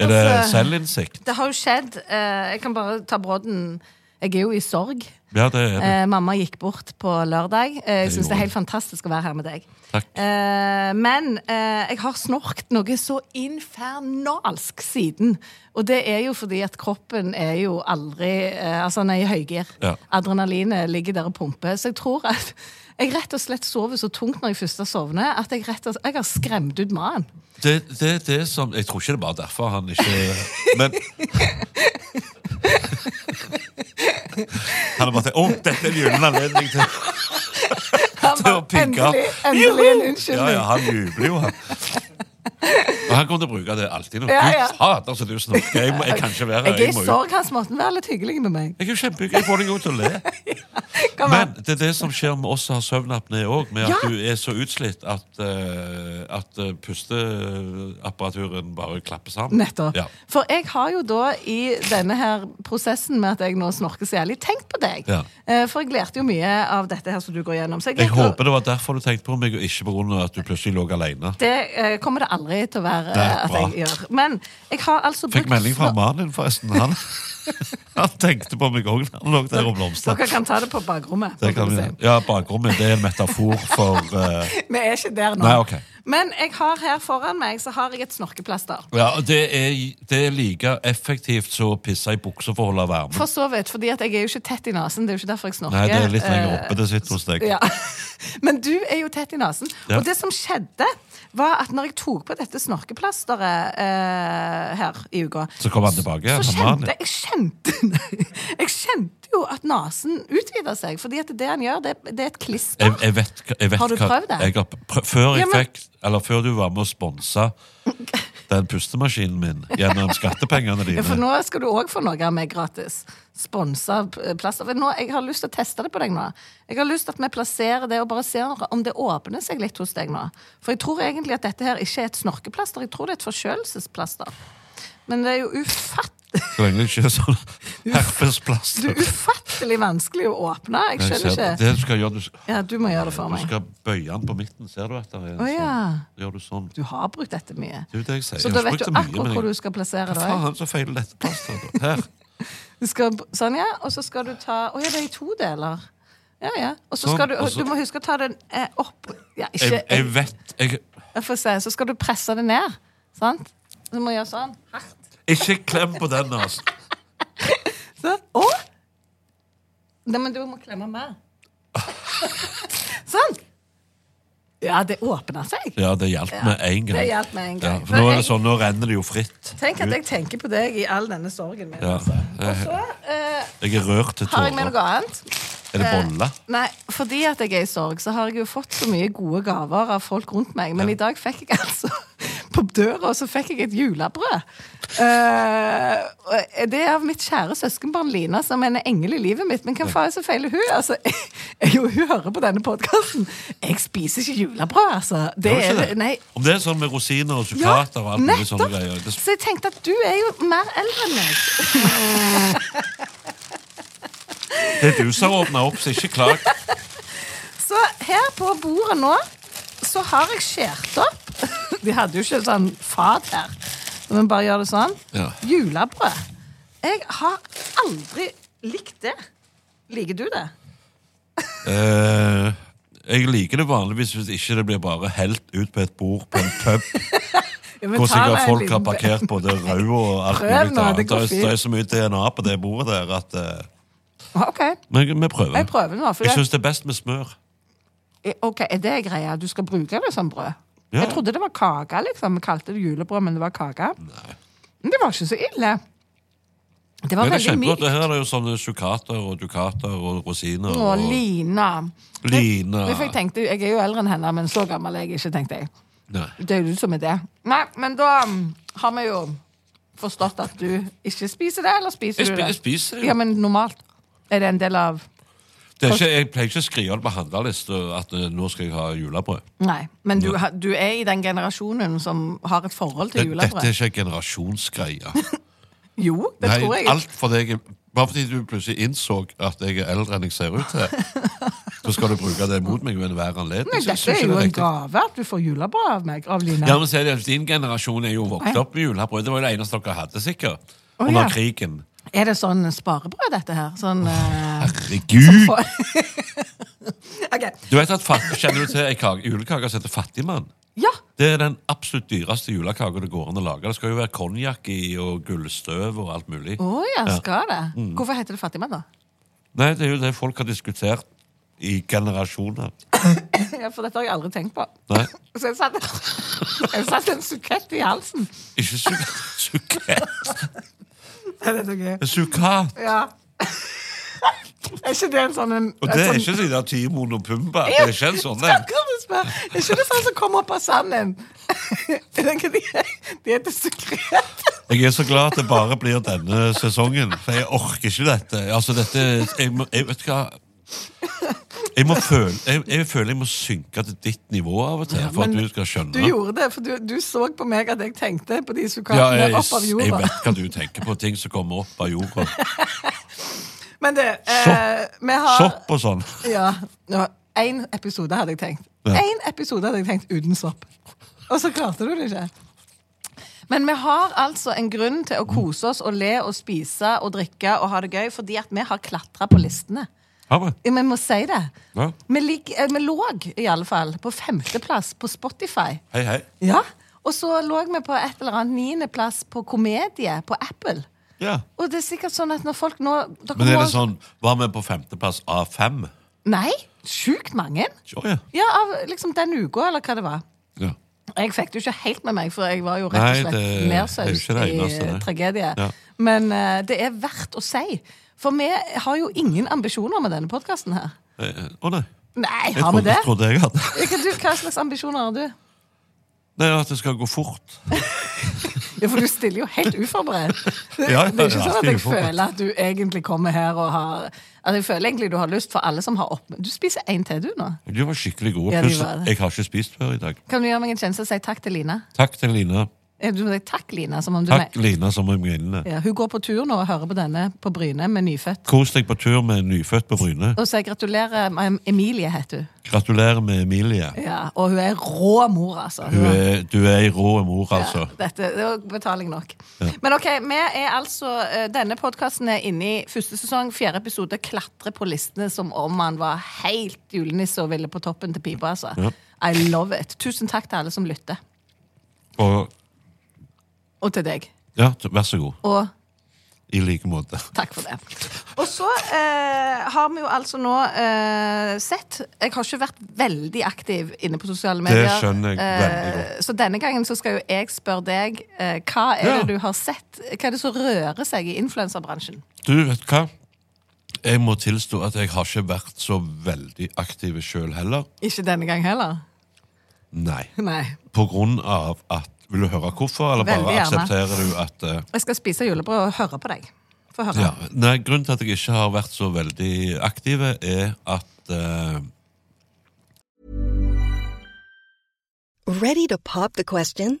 [SPEAKER 2] Er det
[SPEAKER 1] altså-
[SPEAKER 2] selvinnsikt?
[SPEAKER 1] det har jo skjedd. Eh, jeg kan bare ta brodden. Jeg er jo i sorg.
[SPEAKER 2] Ja, det er det.
[SPEAKER 1] Eh, mamma gikk bort på lørdag. Eh, jeg
[SPEAKER 2] Det
[SPEAKER 1] syns det
[SPEAKER 2] gjorde
[SPEAKER 1] er helt fantastisk å være her med deg.
[SPEAKER 2] Takk.
[SPEAKER 1] Eh, men eh, jeg har snorkt noe så infernalsk siden. Og det er jo fordi at kroppen er jo aldri eh, Altså, han er i høygir.
[SPEAKER 2] Ja.
[SPEAKER 1] Adrenalinet ligger der og pumper. Så jeg tror at jeg rett og slett sover så tungt når jeg først sovner, at jeg, rett og slett, jeg har skremt ut mannen.
[SPEAKER 2] Det, det, er det som, jeg tror ikke det er bare derfor han ikke Men Han er bare til Å, dette er en gyllen anledning til til å pigge opp.
[SPEAKER 1] Endelig, endelig en
[SPEAKER 2] Ja,
[SPEAKER 1] unnskyldning.
[SPEAKER 2] ja, han jubler jo, han. Og han kommer til å bruke det alltid nå.
[SPEAKER 1] Ja, ja.
[SPEAKER 2] Gud fader, så du snorker. Jeg, må- jeg kan ikke være her.
[SPEAKER 1] Jeg er i
[SPEAKER 2] må ut.
[SPEAKER 1] sorg, Hans Morten. Vær litt hyggelig med meg.
[SPEAKER 2] Jeg er jo kjempehyggelig. Jeg får deg jo til å le.
[SPEAKER 1] Kom
[SPEAKER 2] Men
[SPEAKER 1] an.
[SPEAKER 2] det er det som skjer med oss som har søvnapné òg, med at
[SPEAKER 1] Ja.
[SPEAKER 2] du er så utslitt at, eh, at eh, pusteapparaturen bare klapper sammen.
[SPEAKER 1] Nettopp.
[SPEAKER 2] Ja.
[SPEAKER 1] For jeg har jo da i denne her prosessen med at jeg nå snorker så jævlig, tenkt på deg.
[SPEAKER 2] Ja.
[SPEAKER 1] Eh, For jeg lærte jo mye av dette her som du går gjennom. Så jeg,
[SPEAKER 2] Jeg
[SPEAKER 1] lærte jo-
[SPEAKER 2] håper det var derfor du tenkte på meg, og ikke pga. at du plutselig lå alene.
[SPEAKER 1] Det eh, kommer det aldri til å være
[SPEAKER 2] Nei,
[SPEAKER 1] eh, at
[SPEAKER 2] bra.
[SPEAKER 1] jeg gjør. Men jeg har altså
[SPEAKER 2] Fikk melding fra
[SPEAKER 1] snor-
[SPEAKER 2] mannen din, forresten. Han, han tenkte på meg òg. Han lå der og blomstra.
[SPEAKER 1] Dere kan ta det på bakrommet.
[SPEAKER 2] Det kan
[SPEAKER 1] får
[SPEAKER 2] vi
[SPEAKER 1] vi
[SPEAKER 2] gjøre.
[SPEAKER 1] se.
[SPEAKER 2] Ja, bakrommet det er en metafor for eh,
[SPEAKER 1] Vi er ikke der nå.
[SPEAKER 2] Nei, ok.
[SPEAKER 1] Men jeg har her foran meg så har jeg et snorkeplaster.
[SPEAKER 2] Ja, og det er, det er like effektivt som å pisse i buksa for å holde varmen.
[SPEAKER 1] For så vidt, fordi at jeg er jo ikke tett i nesen. Det er jo ikke derfor jeg snorker.
[SPEAKER 2] Nei, det er litt lenger
[SPEAKER 1] Eh,
[SPEAKER 2] oppe. Det sitter hos deg.
[SPEAKER 1] Ja. Men du er jo tett i nesen.
[SPEAKER 2] Ja.
[SPEAKER 1] Og det som skjedde, var at når jeg tok på dette snorkeplasteret eh, her i uka
[SPEAKER 2] Så sånn kom han tilbake igjen,
[SPEAKER 1] Så
[SPEAKER 2] han
[SPEAKER 1] kjente
[SPEAKER 2] var
[SPEAKER 1] jeg kjente, nei, jeg kjente jo at nesen utvida seg. Fordi at det han gjør, det, det er et klister.
[SPEAKER 2] Jeg, jeg vet, hva- jeg vet
[SPEAKER 1] Har du
[SPEAKER 2] hva-
[SPEAKER 1] prøvd det?
[SPEAKER 2] Jeg har prø- før, jeg
[SPEAKER 1] Ja, men-
[SPEAKER 2] fikk, eller før du var med og sponsa den pustemaskinen min gjennom skattepengene
[SPEAKER 1] Ja, For
[SPEAKER 2] dine
[SPEAKER 1] nå skal du òg få noe av meg gratis. Sponsa eh, plaster. Men nå, jeg har lyst til å teste det på deg nå. Jeg har lyst til at vi plasserer det og bare ser om det åpner seg litt hos deg nå. For jeg tror egentlig at dette her ikke er et snorkeplaster, jeg tror det er et forkjølelsesplaster. Men det er jo ufattelig,
[SPEAKER 2] Så lenge det ikke er sånn herpesplaster.
[SPEAKER 1] ufattelig vanskelig å åpne. Jeg
[SPEAKER 2] Jeg
[SPEAKER 1] skjønner
[SPEAKER 2] ser-
[SPEAKER 1] ikke.
[SPEAKER 2] Det du skal gjøre, du, s-
[SPEAKER 1] Ja, du må gjøre det for
[SPEAKER 2] du
[SPEAKER 1] meg.
[SPEAKER 2] skal bøye den på midten. Ser du at det er en
[SPEAKER 1] Å, ja.
[SPEAKER 2] sånn? Gjør du sånn.
[SPEAKER 1] Du har brukt dette mye.
[SPEAKER 2] Det er jo det jeg sier.
[SPEAKER 1] Så
[SPEAKER 2] Jeg
[SPEAKER 1] da
[SPEAKER 2] har
[SPEAKER 1] vet du
[SPEAKER 2] ikke brukt det mye,
[SPEAKER 1] akkurat
[SPEAKER 2] men
[SPEAKER 1] hvor du
[SPEAKER 2] jeg-
[SPEAKER 1] skal plassere det.
[SPEAKER 2] Faen, så feiler dette plasteret. da? Her.
[SPEAKER 1] Du skal, sånn, ja. Og så skal du ta Å ja, det er i to deler. Ja, ja. Og så
[SPEAKER 2] Sånn,
[SPEAKER 1] skal du
[SPEAKER 2] og så-
[SPEAKER 1] Du må huske å ta den eh, opp Ja, ikke
[SPEAKER 2] Jeg, jeg vet jeg,
[SPEAKER 1] jeg får se. Så skal du presse det ned. Sant? Så du må gjøre sånn.
[SPEAKER 2] Ikke klem på den, altså.
[SPEAKER 1] Så. Å! Nei, men du må klemme mer. sånn. Ja, det åpner seg.
[SPEAKER 2] Ja, det hjalp med én gang.
[SPEAKER 1] det hjalp med en gang.
[SPEAKER 2] Ja, for nå er det sånn, nå renner det jo fritt.
[SPEAKER 1] Tenk at jeg tenker på deg i all denne sorgen min.
[SPEAKER 2] Ja.
[SPEAKER 1] Altså. Og så eh,
[SPEAKER 2] Jeg er rørt til
[SPEAKER 1] har jeg med noe
[SPEAKER 2] tårer.
[SPEAKER 1] Eh, annet.
[SPEAKER 2] Er det bolle?
[SPEAKER 1] Nei, fordi at jeg er i sorg, så har jeg jo fått så mye gode gaver av folk rundt meg. Men i dag fikk jeg altså På døra så fikk jeg et julebrød. Eh, og det er av mitt kjære søskenbarn Lina, som er en engel i livet mitt. Men hva faen er det som feiler hun? Altså, jeg, jo, hun hører på denne podkasten. Jeg spiser ikke julebrød, altså. Det
[SPEAKER 2] Gjør du
[SPEAKER 1] er
[SPEAKER 2] ikke
[SPEAKER 1] det. Nei.
[SPEAKER 2] Om det er sånn med rosiner og
[SPEAKER 1] Ja,
[SPEAKER 2] sukkater og alt mulig sånne
[SPEAKER 1] nettopp.
[SPEAKER 2] greier. Det,
[SPEAKER 1] Så jeg tenkte at du er jo mer eldre enn meg.
[SPEAKER 2] det er du som har åpna opp, så ikke klag.
[SPEAKER 1] Så her på bordet nå så har jeg skjært opp De hadde jo ikke sånn fat her. Så vi bare gjør det sånn.
[SPEAKER 2] Ja.
[SPEAKER 1] Julebrød. Jeg har aldri likt det. Liker du det?
[SPEAKER 2] Eh, jeg liker det vanligvis hvis ikke det blir bare helt ut på et bord på en pub. Hvor sikkert folk har parkert både rød og alt
[SPEAKER 1] Prøv nå, det
[SPEAKER 2] mulig annet.
[SPEAKER 1] går
[SPEAKER 2] Det er-
[SPEAKER 1] fint.
[SPEAKER 2] Det er så mye DNA på det bordet der at eh,
[SPEAKER 1] OK,
[SPEAKER 2] Men vi prøver.
[SPEAKER 1] Jeg prøver nå, for
[SPEAKER 2] jeg
[SPEAKER 1] jeg-
[SPEAKER 2] syns det er best med smør.
[SPEAKER 1] ok, er det greia? Du skal bruke det som brød?
[SPEAKER 2] Ja.
[SPEAKER 1] Jeg trodde det var kake, liksom. Vi kalte det julebrød, men det var kake. Men det var ikke så ille. Det var
[SPEAKER 2] Men det er
[SPEAKER 1] veldig
[SPEAKER 2] kjempegodt.
[SPEAKER 1] mykt.
[SPEAKER 2] Her er det jo sånne sukater og dukater og rosiner.
[SPEAKER 1] Å,
[SPEAKER 2] Og
[SPEAKER 1] Lina.
[SPEAKER 2] Lina.
[SPEAKER 1] Men Jeg, tenkte, jeg er jo eldre enn henne, men så gammel er jeg ikke, tenkte jeg.
[SPEAKER 2] Nei.
[SPEAKER 1] Det er jo du som er det. Nei, men da mm, har vi jo forstått at du ikke spiser det, eller spiser
[SPEAKER 2] Jeg
[SPEAKER 1] du
[SPEAKER 2] spi-
[SPEAKER 1] det?
[SPEAKER 2] jeg spiser det jo.
[SPEAKER 1] Ja, men normalt. Er det en del av
[SPEAKER 2] Det er ikke, jeg pleier ikke å skrive det på handlelista at eh, nå skal jeg ha julebrød.
[SPEAKER 1] Nei, men du, ha- du er i den generasjonen som har et forhold
[SPEAKER 2] Det,
[SPEAKER 1] til
[SPEAKER 2] dette er
[SPEAKER 1] julebrød.
[SPEAKER 2] ikke en generasjonsgreie.
[SPEAKER 1] Jo, det
[SPEAKER 2] Nei,
[SPEAKER 1] tror jeg.
[SPEAKER 2] alt for deg, bare fordi du plutselig innså at jeg er eldre enn jeg ser ut til, så skal du bruke det mot meg ved enhver anledning.
[SPEAKER 1] Nei,
[SPEAKER 2] Så jeg
[SPEAKER 1] dette
[SPEAKER 2] synes
[SPEAKER 1] er jo
[SPEAKER 2] ikke det
[SPEAKER 1] en
[SPEAKER 2] riktig.
[SPEAKER 1] gave at du får julebrød av meg, av Lina.
[SPEAKER 2] Ja, men så er det at Din generasjon er jo vokst
[SPEAKER 1] Nei.
[SPEAKER 2] opp med julebrød. Det var jo det eneste dere hadde, sikkert.
[SPEAKER 1] Å,
[SPEAKER 2] Under
[SPEAKER 1] ja.
[SPEAKER 2] krigen.
[SPEAKER 1] Er det sånn sparebrød, dette her? Sånn eh,
[SPEAKER 2] Herregud!
[SPEAKER 1] Ok.
[SPEAKER 2] Du vet at fatt, Kjenner du til ei kake- julekake som heter Fattigmann?
[SPEAKER 1] Ja.
[SPEAKER 2] Det er den absolutt dyreste julekaka det går an å lage. Det skal jo være konjakk i og gullstøv og alt mulig.
[SPEAKER 1] Å ja, skal det?
[SPEAKER 2] Mm.
[SPEAKER 1] Hvorfor heter det fattigmann, da?
[SPEAKER 2] Nei, det er jo det folk har diskutert i generasjoner.
[SPEAKER 1] Ja, For dette har jeg aldri tenkt på.
[SPEAKER 2] Nei,
[SPEAKER 1] Så jeg satt, jeg satt en sukett i halsen.
[SPEAKER 2] ikke su- sukett.
[SPEAKER 1] Er det noe?
[SPEAKER 2] Sukat!
[SPEAKER 1] Ja. Er ikke det en sånn en,
[SPEAKER 2] Og det
[SPEAKER 1] en
[SPEAKER 2] er
[SPEAKER 1] sånn,
[SPEAKER 2] ikke de der Timon og Pumba. Det er ikke en sånn en.
[SPEAKER 1] Akkurat det jeg spør. Er ikke det sånn som kommer opp av sanden? Er det ikke de, de heter sukret.
[SPEAKER 2] Jeg er så glad at det bare blir denne sesongen, for jeg orker ikke dette. Altså, dette Jeg, må, jeg vet hva jeg, må føle, jeg, jeg føler jeg må synke til ditt nivå av og til for at
[SPEAKER 1] men
[SPEAKER 2] du skal skjønne.
[SPEAKER 1] Du gjorde det, for du, du så på meg at jeg tenkte på de
[SPEAKER 2] ja,
[SPEAKER 1] sukatene
[SPEAKER 2] jeg,
[SPEAKER 1] opp av
[SPEAKER 2] jeg
[SPEAKER 1] jorda.
[SPEAKER 2] vet hva du tenker på, ting som kommer opp av jorda.
[SPEAKER 1] Men det, eh, vi har
[SPEAKER 2] Sopp og sånn.
[SPEAKER 1] Ja, nå, en episode hadde jeg tenkt.
[SPEAKER 2] Ja.
[SPEAKER 1] En episode hadde jeg tenkt uten sopp. Og så klarte du det ikke. Men vi har altså en grunn til å kose oss og le og spise og drikke og ha det gøy, fordi at vi har klatra på listene.
[SPEAKER 2] Ja, men,
[SPEAKER 1] Ja, Vi må si det.
[SPEAKER 2] Ja.
[SPEAKER 1] Vi, ligg- eh, vi lå i alle fall på femteplass på Spotify.
[SPEAKER 2] hei, hei.
[SPEAKER 1] Ja. Og så lå vi på et eller annet niendeplass på komedie på Apple.
[SPEAKER 2] Ja.
[SPEAKER 1] Og det er sikkert sånn at når folk nå dere
[SPEAKER 2] Men er
[SPEAKER 1] må-
[SPEAKER 2] det sånn Var vi på femteplass av fem?
[SPEAKER 1] Nei! Sjukt mange.
[SPEAKER 2] Å, ja.
[SPEAKER 1] Ja, av liksom den uka, eller hva det var.
[SPEAKER 2] ja.
[SPEAKER 1] Jeg fikk det jo ikke helt med meg, for jeg var jo rett og
[SPEAKER 2] Nei,
[SPEAKER 1] slett
[SPEAKER 2] det er jo
[SPEAKER 1] nedsaust
[SPEAKER 2] ikke det
[SPEAKER 1] i
[SPEAKER 2] eneste, det.
[SPEAKER 1] tragedie.
[SPEAKER 2] Ja.
[SPEAKER 1] Men eh, det er verdt å si. For vi har jo ingen ambisjoner med denne podkasten her.
[SPEAKER 2] Eh, eh, Å, nei.
[SPEAKER 1] Nei,
[SPEAKER 2] Jeg
[SPEAKER 1] har vi
[SPEAKER 2] trodde,
[SPEAKER 1] det?
[SPEAKER 2] trodde jeg hadde
[SPEAKER 1] Ikke du, hva slags ambisjoner har du?
[SPEAKER 2] Nei, at det skal gå fort.
[SPEAKER 1] Ja, For du stiller jo helt uforberedt. Det,
[SPEAKER 2] Ja, ja,
[SPEAKER 1] det er
[SPEAKER 2] ja,
[SPEAKER 1] ikke sånn at jeg
[SPEAKER 2] stiller uforberedt.
[SPEAKER 1] føler at du egentlig kommer her og har At jeg føler egentlig du har lyst for alle som har opp... Du spiser én til, du, nå.
[SPEAKER 2] De var skikkelig gode.
[SPEAKER 1] Ja, de
[SPEAKER 2] Pluss,
[SPEAKER 1] var det.
[SPEAKER 2] jeg har ikke spist før i dag.
[SPEAKER 1] Kan du gjøre meg en tjeneste og si takk til Lina?
[SPEAKER 2] Takk til Lina.
[SPEAKER 1] Eh, Du må si takk, Lina, som om du
[SPEAKER 2] Takk, Lina, som er minnene.
[SPEAKER 1] Ja, hun går på tur nå og hører på denne på Bryne med nyfødt.
[SPEAKER 2] Kos deg på tur med en nyfødt på Bryne.
[SPEAKER 1] Og så jeg gratulerer em- Emilie, heter hun.
[SPEAKER 2] Gratulerer med Emilie.
[SPEAKER 1] Ja, og hun er rå mor, altså.
[SPEAKER 2] Du er, du er ei rå mor, altså.
[SPEAKER 1] Ja, dette, det var betaling nok. Men ok, vi er altså eh, Denne podkasten er inne i første sesong, fjerde episode, klatre på listene som om han var helt julenisse og ville på toppen til pipa, altså. I love it. Tusen takk til alle som lytter.
[SPEAKER 2] Og
[SPEAKER 1] Og til deg.
[SPEAKER 2] ja, t- vær så god.
[SPEAKER 1] Og
[SPEAKER 2] I like måte.
[SPEAKER 1] Takk for det. Og så eh, har vi jo altså nå eh, sett Jeg har ikke vært veldig aktiv inne på sosiale medier.
[SPEAKER 2] skjønner jeg veldig godt.
[SPEAKER 1] Eh, så denne gangen så skal jo jeg spørre deg eh, hva er
[SPEAKER 2] Ja.
[SPEAKER 1] det du har sett? Hva er det som rører seg i influenserbransjen?
[SPEAKER 2] Du, vet du hva? Jeg må tilstå at jeg har ikke vært så veldig aktiv sjøl heller.
[SPEAKER 1] Ikke denne gang heller.
[SPEAKER 2] Nei.
[SPEAKER 1] Nei.
[SPEAKER 2] På grunn av at Vil du høre hvorfor, eller bare
[SPEAKER 1] Veldig gjerne.
[SPEAKER 2] aksepterer du at eh,
[SPEAKER 1] Jeg skal spise julebrød og høre på deg. Få høre.
[SPEAKER 2] Ja. Nei, grunnen til at jeg ikke har vært så veldig aktiv, er at eh,
[SPEAKER 3] Ready to pop the question?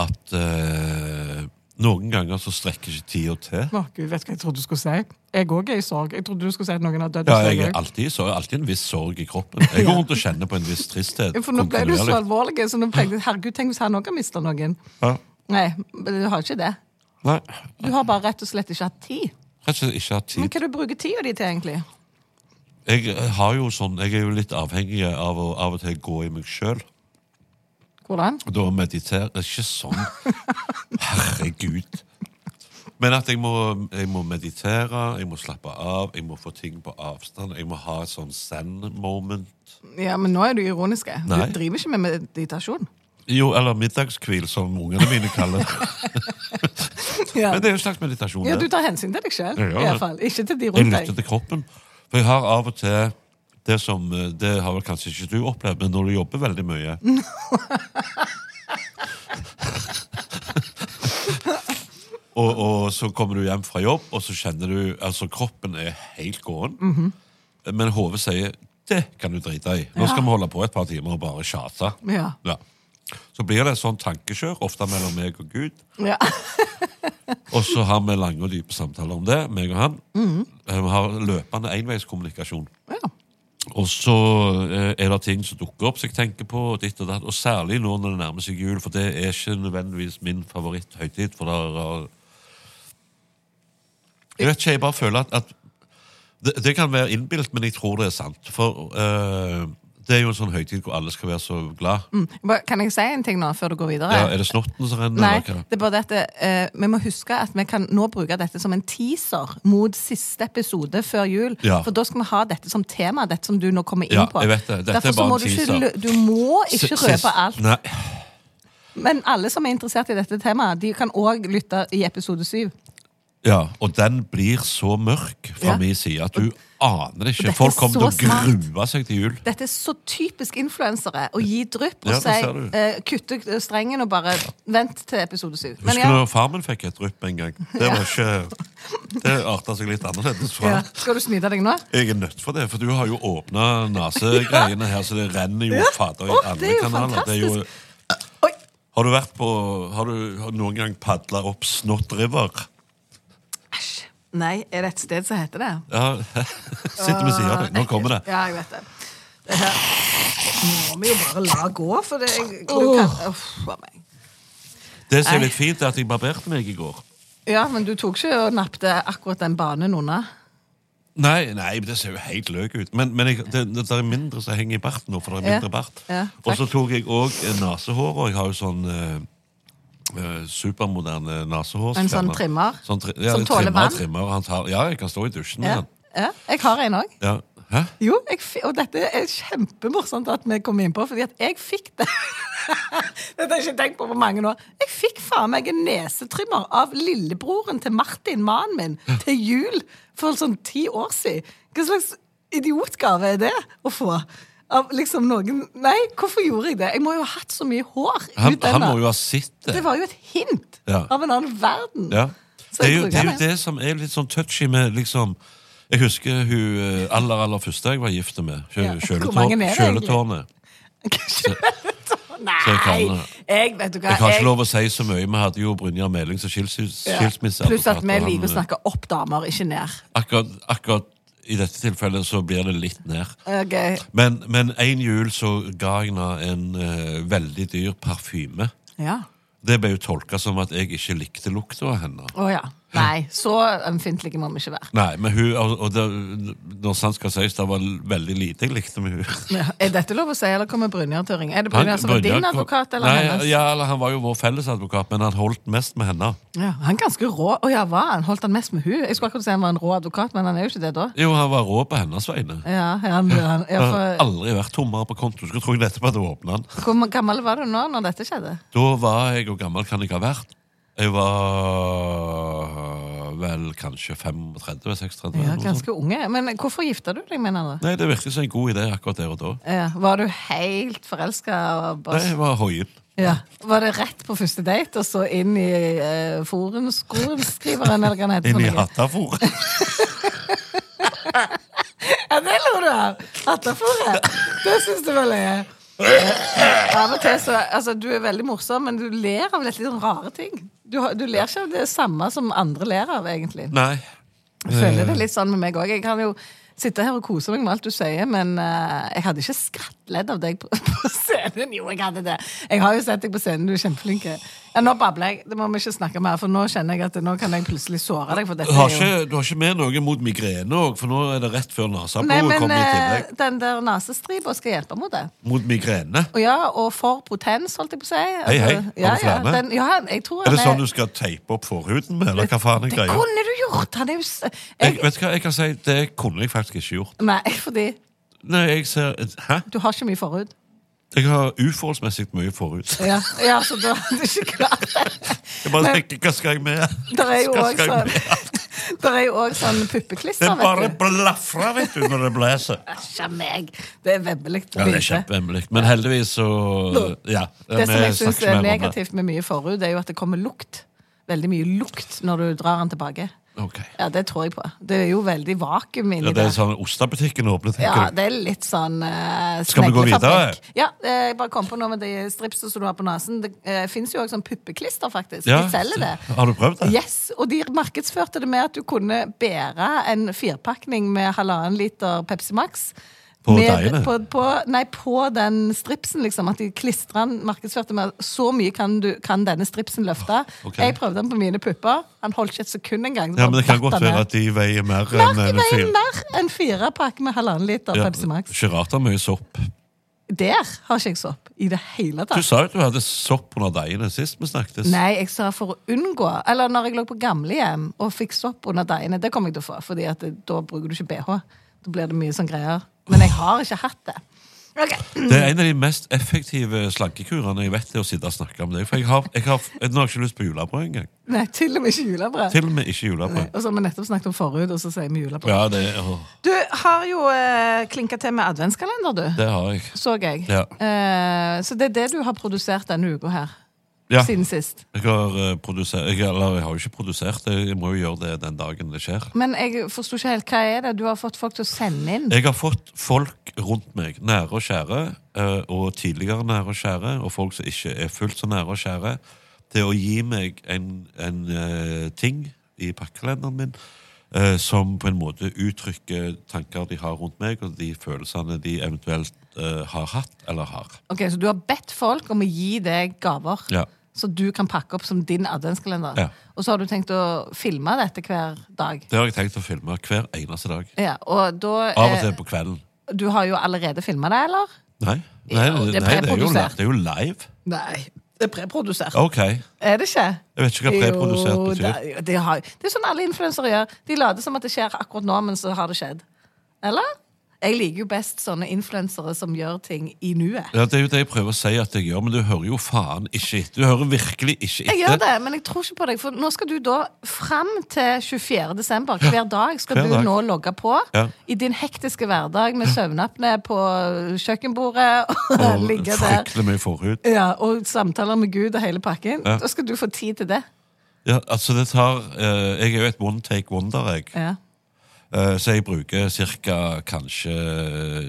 [SPEAKER 2] At eh, noen ganger så strekker ikke tida til.
[SPEAKER 1] Å, Gud, vet du hva jeg trodde du skulle si? Jeg òg er i sorg. Jeg trodde du skulle si at noen har dødd.
[SPEAKER 2] Ja,
[SPEAKER 1] i sorg
[SPEAKER 2] jeg er
[SPEAKER 1] også.
[SPEAKER 2] alltid, så, alltid en viss sorg i kroppen. Jeg går rundt og kjenner på en viss tristhet.
[SPEAKER 1] For nå ble du så
[SPEAKER 2] kontinuerlig.
[SPEAKER 1] alvorlig, så nå tenkte jeg herregud, tenk hvis han òg har mista noen.
[SPEAKER 2] Ja.
[SPEAKER 1] Nei, men du har ikke det.
[SPEAKER 2] Nei,
[SPEAKER 1] Du har bare rett og slett ikke hatt tid.
[SPEAKER 2] rett og slett ikke hatt
[SPEAKER 1] Men
[SPEAKER 2] tid.
[SPEAKER 1] hva du bruker tida di til, egentlig?
[SPEAKER 2] Jeg, har jo sånn, jeg er jo litt avhengig av å av og til gå i meg sjøl.
[SPEAKER 1] Hvordan?
[SPEAKER 2] Da mediterer Ikke sånn. Herregud. Men at jeg må, jeg må meditere, jeg må slappe av, jeg må få ting på avstand. Jeg må ha et sånn zen-moment.
[SPEAKER 1] Ja, men nå er du ironisk. Du
[SPEAKER 2] Nei.
[SPEAKER 1] driver ikke med meditasjon.
[SPEAKER 2] Jo, eller middagshvil, som ungene mine kaller det.
[SPEAKER 1] Ja.
[SPEAKER 2] Men det er jo en slags meditasjon.
[SPEAKER 1] Ja,
[SPEAKER 2] det.
[SPEAKER 1] du tar hensyn til deg sjøl,
[SPEAKER 2] Jeg gjør det.
[SPEAKER 1] iallfall. Ikke til de
[SPEAKER 2] Jeg
[SPEAKER 1] rundt
[SPEAKER 2] lytter
[SPEAKER 1] deg.
[SPEAKER 2] til kroppen. For jeg har av og til det som eh, Det har vel kanskje ikke du opplevd, men når du jobber veldig mye og, og så kommer du hjem fra jobb, og så kjenner du Altså, kroppen er helt gåen,
[SPEAKER 1] Mhm.
[SPEAKER 2] men hodet sier 'det kan du drite i'. Nå skal vi holde på et par timer og bare tjate.
[SPEAKER 1] Ja.
[SPEAKER 2] Ja. Så blir det et sånt tankekjør, ofte mellom meg og Gud.
[SPEAKER 1] Ja.
[SPEAKER 2] Og så har vi lange og dype samtaler om det, meg og han.
[SPEAKER 1] Mhm.
[SPEAKER 2] Eh, Vi har løpende enveiskommunikasjon.
[SPEAKER 1] Ja.
[SPEAKER 2] Og så eh, er det ting som dukker opp som jeg tenker på, og ditt og datt. Og særlig nå når det nærmer seg jul, for det er ikke nødvendigvis min favoritthøytid. For der, er... Jeg vet ikke, jeg bare føler at, at det, det kan være innbilt, men jeg tror det er sant. For eh, det er jo en sånn høytid hvor alle skal være så glad.
[SPEAKER 1] Bare, Kan jeg si en ting nå, før du går videre?
[SPEAKER 2] Ja, er det snotten som renner?
[SPEAKER 1] Nei,
[SPEAKER 2] eller hva?
[SPEAKER 1] det er bare dette, eh, vi må huske at vi kan nå bruke dette som en teaser mot siste episode før jul.
[SPEAKER 2] Ja.
[SPEAKER 1] For da skal vi ha dette som tema, dette som du nå kommer inn
[SPEAKER 2] Ja,
[SPEAKER 1] på.
[SPEAKER 2] jeg vet det. Dette er
[SPEAKER 1] Derfor så
[SPEAKER 2] bare
[SPEAKER 1] må
[SPEAKER 2] en
[SPEAKER 1] du ikke,
[SPEAKER 2] teaser.
[SPEAKER 1] lø- du må ikke
[SPEAKER 2] Sist-
[SPEAKER 1] røpe alt.
[SPEAKER 2] Nei,
[SPEAKER 1] Men alle som er interessert i dette temaet, de kan òg lytte i episode syv.
[SPEAKER 2] Ja, og den blir så mørk fra
[SPEAKER 1] Ja.
[SPEAKER 2] min side at du aner
[SPEAKER 1] og dette
[SPEAKER 2] ikke. Folk
[SPEAKER 1] er
[SPEAKER 2] kommer til å
[SPEAKER 1] så smart.
[SPEAKER 2] grue seg til jul.
[SPEAKER 1] Dette er så typisk influensere. Å gi drypp og
[SPEAKER 2] Ja, det
[SPEAKER 1] si
[SPEAKER 2] ser du.
[SPEAKER 1] eh, kutte strengen og bare vent til episode syv. Men
[SPEAKER 2] Husker du
[SPEAKER 1] ja,
[SPEAKER 2] når far min fikk et drypp en gang? Det var ikke Det arta seg litt annerledes fra.
[SPEAKER 1] ja. Skal du snyte deg nå?
[SPEAKER 2] Jeg er nødt for det, for du har jo åpna nasegreiene her, så det renner jo fader i
[SPEAKER 1] Å, det
[SPEAKER 2] alle
[SPEAKER 1] er jo
[SPEAKER 2] kanaler. Det er jo,
[SPEAKER 1] Oi!
[SPEAKER 2] har du vært på Har du har du noen gang padla opp Snott River?
[SPEAKER 1] Æsj. Nei, er det et sted som heter det?
[SPEAKER 2] Ja, Sitter ved siden av deg. Nå kommer det.
[SPEAKER 1] Ja, jeg vet det. det her må vi jo bare la gå, for det jeg, du kan, uff, for meg.
[SPEAKER 2] Det som er litt fint, er at jeg barberte meg i går.
[SPEAKER 1] Ja, men du tok ikke og nappte akkurat den banen unna?
[SPEAKER 2] Nei, nei, men det ser jo helt løk ut. Men, men jeg, det, det, det er mindre som henger i barten nå, for det er
[SPEAKER 1] Ja.
[SPEAKER 2] mindre bart.
[SPEAKER 1] Ja, takk.
[SPEAKER 2] og så tok jeg òg nesehår, og jeg har jo sånn eh, eh, supermoderne nesehår.
[SPEAKER 1] En sånn trimmer?
[SPEAKER 2] Sånn tri ja,
[SPEAKER 1] Som
[SPEAKER 2] en
[SPEAKER 1] tåler
[SPEAKER 2] trimmer,
[SPEAKER 1] vann?
[SPEAKER 2] Trimmer, og han tar, ja, jeg kan stå i dusjen med
[SPEAKER 1] Ja.
[SPEAKER 2] den.
[SPEAKER 1] ja. Jeg har en òg.
[SPEAKER 2] Ja. Hæ?
[SPEAKER 1] Jo, jeg fi- og dette er kjempemorsomt at vi kom inn på, fordi at jeg fikk det. dette har jeg ikke tenkt på på mange år. Jeg fikk faen meg en nesetrimmer av lillebroren til Martin, mannen min, til jul for sånn ti år siden. Hva slags idiotgave er det å få? Av liksom noen Nei, hvorfor gjorde jeg det? Jeg må jo ha hatt så mye hår.
[SPEAKER 2] Han,
[SPEAKER 1] ut
[SPEAKER 2] han
[SPEAKER 1] denne.
[SPEAKER 2] må jo ha sett det.
[SPEAKER 1] Det var jo et hint
[SPEAKER 2] Ja.
[SPEAKER 1] av en annen verden.
[SPEAKER 2] Ja.
[SPEAKER 1] Så
[SPEAKER 2] Det er,
[SPEAKER 1] jeg
[SPEAKER 2] jo, det er jo
[SPEAKER 1] bruker
[SPEAKER 2] det som er litt sånn touchy med liksom Jeg husker hun eh, aller, aller første jeg var gift med. Kjø-
[SPEAKER 1] Ja. Hvor mange er
[SPEAKER 2] Kjøletårn-
[SPEAKER 1] det egentlig?
[SPEAKER 2] Kjøletårnet. Så jeg
[SPEAKER 1] Nei!
[SPEAKER 2] kan- eh,
[SPEAKER 1] Jeg vet du hva
[SPEAKER 2] Jeg har
[SPEAKER 1] jeg-
[SPEAKER 2] ikke lov å si så mye. Vi hadde jo Brynjar Meling som skilsmis-
[SPEAKER 1] Ja.
[SPEAKER 2] skilsmisseadvokat.
[SPEAKER 1] Pluss at vi
[SPEAKER 2] og han, eh,
[SPEAKER 1] liker å snakke opp damer, ikke ned.
[SPEAKER 2] Akkurat, akkurat i dette tilfellet så blir det litt ned.
[SPEAKER 1] Ok.
[SPEAKER 2] Men, men en jul så ga jeg henne en eh, veldig dyr parfyme.
[SPEAKER 1] Ja.
[SPEAKER 2] Det ble jo tolka som at jeg ikke likte lukta av henne.
[SPEAKER 1] Å ja. Nei, så ømfintlige må vi ikke være.
[SPEAKER 2] Nei, men hun, og, og det, Når sant skal sies, det var veldig lite jeg likte med hun.
[SPEAKER 1] Ja. Er dette lov å si, eller kommer Brynjar til å ringe? Er det
[SPEAKER 2] Han-
[SPEAKER 1] Brynjar som er din
[SPEAKER 2] Brynjar kom-
[SPEAKER 1] advokat, eller
[SPEAKER 2] Nei,
[SPEAKER 1] hennes?
[SPEAKER 2] Ja, eller Han var jo vår fellesadvokat, men han holdt mest med henne.
[SPEAKER 1] Ja, han er ganske rå. Å ja, var han? Holdt han mest med hun? Jeg skulle akkurat si han var en rå advokat, men han er jo ikke det da.
[SPEAKER 2] Jo, han var rå på hennes vegne.
[SPEAKER 1] Ja, han, han, ja,
[SPEAKER 2] Jeg har
[SPEAKER 1] for,
[SPEAKER 2] aldri vært tommere på konto. Skulle tro jeg nettopp hadde åpna den.
[SPEAKER 1] hvor gammel var du nå når dette skjedde?
[SPEAKER 2] Da var jeg, hvor gammel kan jeg ha vært? Jeg var vel kanskje 35-36.
[SPEAKER 1] Ja, ganske unge. Men hvorfor gifta du deg med en annen?
[SPEAKER 2] Nei, det virket som en god idé akkurat der og da.
[SPEAKER 1] Ja, var du helt forelska? og
[SPEAKER 2] Nei,
[SPEAKER 1] bare-
[SPEAKER 2] jeg var hoien.
[SPEAKER 1] Ja. Var det rett på første date, og så inn i uh, forumskriveren? Eller hva den heter sånn for
[SPEAKER 2] Inn i
[SPEAKER 1] noe?
[SPEAKER 2] hattafor.
[SPEAKER 1] Ja, det lo du av! Hattafòret. Det syns du vel er Eh, Av og til så Altså, du er veldig morsom, men du ler av litt, litt sånn rare ting. Du, har- du ler ikke av det samme som andre ler av, egentlig.
[SPEAKER 2] Nei.
[SPEAKER 1] Jeg føler
[SPEAKER 2] Eh.
[SPEAKER 1] det litt sånn med meg òg. Jeg kan jo sitte her og kose meg med alt du sier, men eh, jeg hadde ikke skrattledd av deg på, på scenen. Jo, jeg hadde det. Jeg har jo sett deg på scenen, du er kjempeflink. Ja, nå babler jeg. Det må vi ikke snakke mer, for nå kjenner jeg at nå kan jeg plutselig såre deg. for
[SPEAKER 2] Du
[SPEAKER 1] dette
[SPEAKER 2] har
[SPEAKER 1] er jo...
[SPEAKER 2] ikke, du har ikke med noe mot migrene òg, for nå er det rett før
[SPEAKER 1] Nei,
[SPEAKER 2] neseblodet
[SPEAKER 1] men
[SPEAKER 2] kommer i
[SPEAKER 1] eh,
[SPEAKER 2] tillegg.
[SPEAKER 1] den der nasestripa skal hjelpe mot det.
[SPEAKER 2] Mot migrene.
[SPEAKER 1] Og ja, og for potens, holdt jeg på å si.
[SPEAKER 2] Hei,
[SPEAKER 1] Altså,
[SPEAKER 2] hei. Har du
[SPEAKER 1] Ja, ja,
[SPEAKER 2] flere?
[SPEAKER 1] den, ja, jeg tror
[SPEAKER 2] Er det
[SPEAKER 1] han
[SPEAKER 2] sånn du skal teipe opp forhuden med, eller hva faen er
[SPEAKER 1] Det
[SPEAKER 2] greia?
[SPEAKER 1] kunne du gjort! Han er jo s-
[SPEAKER 2] Jeg,
[SPEAKER 1] jeg,
[SPEAKER 2] vet du hva, jeg kan si, det kunne jeg faktisk ikke gjort.
[SPEAKER 1] Nei, fordi
[SPEAKER 2] Nei, jeg ser Hæ?
[SPEAKER 1] du har ikke mye forhud.
[SPEAKER 2] Jeg har uforholdsmessig mye forhud.
[SPEAKER 1] Ja, ja så da er du ikke klar.
[SPEAKER 2] Jeg bare tenker, hva skal jeg med?
[SPEAKER 1] Der er jo
[SPEAKER 2] Hva
[SPEAKER 1] òg
[SPEAKER 2] skal jeg
[SPEAKER 1] sånn,
[SPEAKER 2] med?
[SPEAKER 1] der er jo også sånn
[SPEAKER 2] Det
[SPEAKER 1] puppeklister,
[SPEAKER 2] er bare
[SPEAKER 1] vet du.
[SPEAKER 2] blafra, vet du, når det blåser.
[SPEAKER 1] Æsj a meg! Det er vemmelig.
[SPEAKER 2] Ja, det er kjempehemmelig. Men heldigvis så Ja.
[SPEAKER 1] Det som
[SPEAKER 2] vi
[SPEAKER 1] jeg syns
[SPEAKER 2] snakker
[SPEAKER 1] er
[SPEAKER 2] mer om det.
[SPEAKER 1] negativt med mye forhud, er jo at det kommer lukt. Veldig mye lukt når du drar den tilbake.
[SPEAKER 2] Ok.
[SPEAKER 1] Ja, det tror jeg på. Det er jo veldig vakuum inni
[SPEAKER 2] Ja, det er sånn ostebutikken åpner,
[SPEAKER 1] Ja,
[SPEAKER 2] tenker du.
[SPEAKER 1] det er litt sånn uh,
[SPEAKER 2] Skal vi gå videre?
[SPEAKER 1] Ja, eh, jeg bare kom på noe med de stripsene som du har på nesen. Det uh, fins jo òg sånn puppeklister, faktisk.
[SPEAKER 2] Ja,
[SPEAKER 1] de selger det.
[SPEAKER 2] har du prøvd det?
[SPEAKER 1] Yes, Og de markedsførte det med at du kunne bære en firpakning med halvannen liter Pepsi Max.
[SPEAKER 2] På
[SPEAKER 1] med,
[SPEAKER 2] deigene?
[SPEAKER 1] På, på, nei, på den stripsen, liksom. At de klistra den markedsførte med så mye kan, du, kan denne stripsen løfte.
[SPEAKER 2] Ok.
[SPEAKER 1] Jeg prøvde den på mine pupper. Han holdt ikke et sekund engang.
[SPEAKER 2] Ja, men det kan
[SPEAKER 1] Datt
[SPEAKER 2] godt
[SPEAKER 1] han
[SPEAKER 2] være
[SPEAKER 1] ned.
[SPEAKER 2] at de veier mer
[SPEAKER 1] Mer,
[SPEAKER 2] enn
[SPEAKER 1] de
[SPEAKER 2] en
[SPEAKER 1] veier
[SPEAKER 2] fyr.
[SPEAKER 1] mer enn fire pakker med halvannen liter
[SPEAKER 2] Ja,
[SPEAKER 1] Pepsi Max.
[SPEAKER 2] Ikke rart det er mye sopp.
[SPEAKER 1] Der har ikke jeg sopp i det hele
[SPEAKER 2] Du
[SPEAKER 1] tatt.
[SPEAKER 2] sa jo at du hadde sopp under deigene sist vi snakkes.
[SPEAKER 1] Nei, jeg sa for å unngå Eller når jeg lå på gamlehjem og fikk sopp under deigene, det kommer jeg til å få, Fordi at det, da bruker du ikke bh. Da blir det mye sånn greier. Men jeg har ikke hatt det. Ok.
[SPEAKER 2] Det er en av de mest effektive slankekurene jeg vet, er å sitte og snakke om deg. For jeg har, jeg har, nå har jeg ikke lyst på julebrød engang.
[SPEAKER 1] Nei, til og med ikke julebrød.
[SPEAKER 2] Til og med ikke
[SPEAKER 1] Nei,
[SPEAKER 2] julebrød.
[SPEAKER 1] Og så har vi nettopp snakket om forhud, og så sier vi julebrød.
[SPEAKER 2] Ja, det, åh,
[SPEAKER 1] Du har jo eh, klinka til med adventskalender, du.
[SPEAKER 2] det har jeg.
[SPEAKER 1] Så jeg.
[SPEAKER 2] Ja.
[SPEAKER 1] Eh, så det er det du har produsert denne uka her.
[SPEAKER 2] Ja.
[SPEAKER 1] Siden sist.
[SPEAKER 2] Jeg har, eh, produser- jeg, eller, jeg har jo ikke produsert det, jeg må jo gjøre det den dagen det skjer.
[SPEAKER 1] Men jeg forsto ikke helt hva er det du har fått folk til å sende inn.
[SPEAKER 2] Jeg har fått folk rundt meg, nære og kjære, eh, og tidligere nære og kjære, og folk som ikke er fullt så nære og kjære, til å gi meg en, en eh, ting i pakkekalenderen min eh, som på en måte uttrykker tanker de har rundt meg, og de følelsene de eventuelt eh, har hatt eller har.
[SPEAKER 1] Ok, Så du har bedt folk om å gi deg gaver
[SPEAKER 2] Ja.
[SPEAKER 1] så du kan pakke opp som din adventskalender?
[SPEAKER 2] Ja.
[SPEAKER 1] Og så har du tenkt å filme dette hver dag?
[SPEAKER 2] Det har jeg tenkt å filme hver eneste dag.
[SPEAKER 1] Ja, og da
[SPEAKER 2] Av og til
[SPEAKER 1] eh,
[SPEAKER 2] på kvelden.
[SPEAKER 1] Du har jo allerede filma det, eller?
[SPEAKER 2] Nei, nei,
[SPEAKER 1] Ja,
[SPEAKER 2] nei,
[SPEAKER 1] det er
[SPEAKER 2] det, er jo,
[SPEAKER 1] preprodusert.
[SPEAKER 2] det er jo live.
[SPEAKER 1] Nei. Det er preprodusert.
[SPEAKER 2] Ok, jeg
[SPEAKER 1] Er det ikke?
[SPEAKER 2] vet ikke hva preprodusert
[SPEAKER 1] Jo,
[SPEAKER 2] betyr.
[SPEAKER 1] Det, det, har, det er sånn alle influensere gjør. De later som at det skjer akkurat nå, men så har det skjedd. Eller? Jeg liker jo best sånne influensere som gjør ting i nuet.
[SPEAKER 2] Ja, Det er jo det jeg prøver å si at jeg gjør, men du hører jo faen ikke etter. Du hører virkelig ikke etter.
[SPEAKER 1] Jeg gjør det, men jeg tror ikke på deg. For nå skal du da fram til 24. desember hver dag skal
[SPEAKER 2] hver
[SPEAKER 1] du
[SPEAKER 2] dag.
[SPEAKER 1] nå logge på
[SPEAKER 2] Ja.
[SPEAKER 1] i din hektiske hverdag med søvnapne på kjøkkenbordet og,
[SPEAKER 2] Og
[SPEAKER 1] ligge der.
[SPEAKER 2] Fryktelig mye forhud.
[SPEAKER 1] Ja, og samtaler med Gud og hele pakken.
[SPEAKER 2] Ja.
[SPEAKER 1] Da skal du få tid til det.
[SPEAKER 2] Ja, altså det tar, eh, Jeg er jo et one take wonder, jeg.
[SPEAKER 1] Ja.
[SPEAKER 2] Eh, så jeg bruker ca. kanskje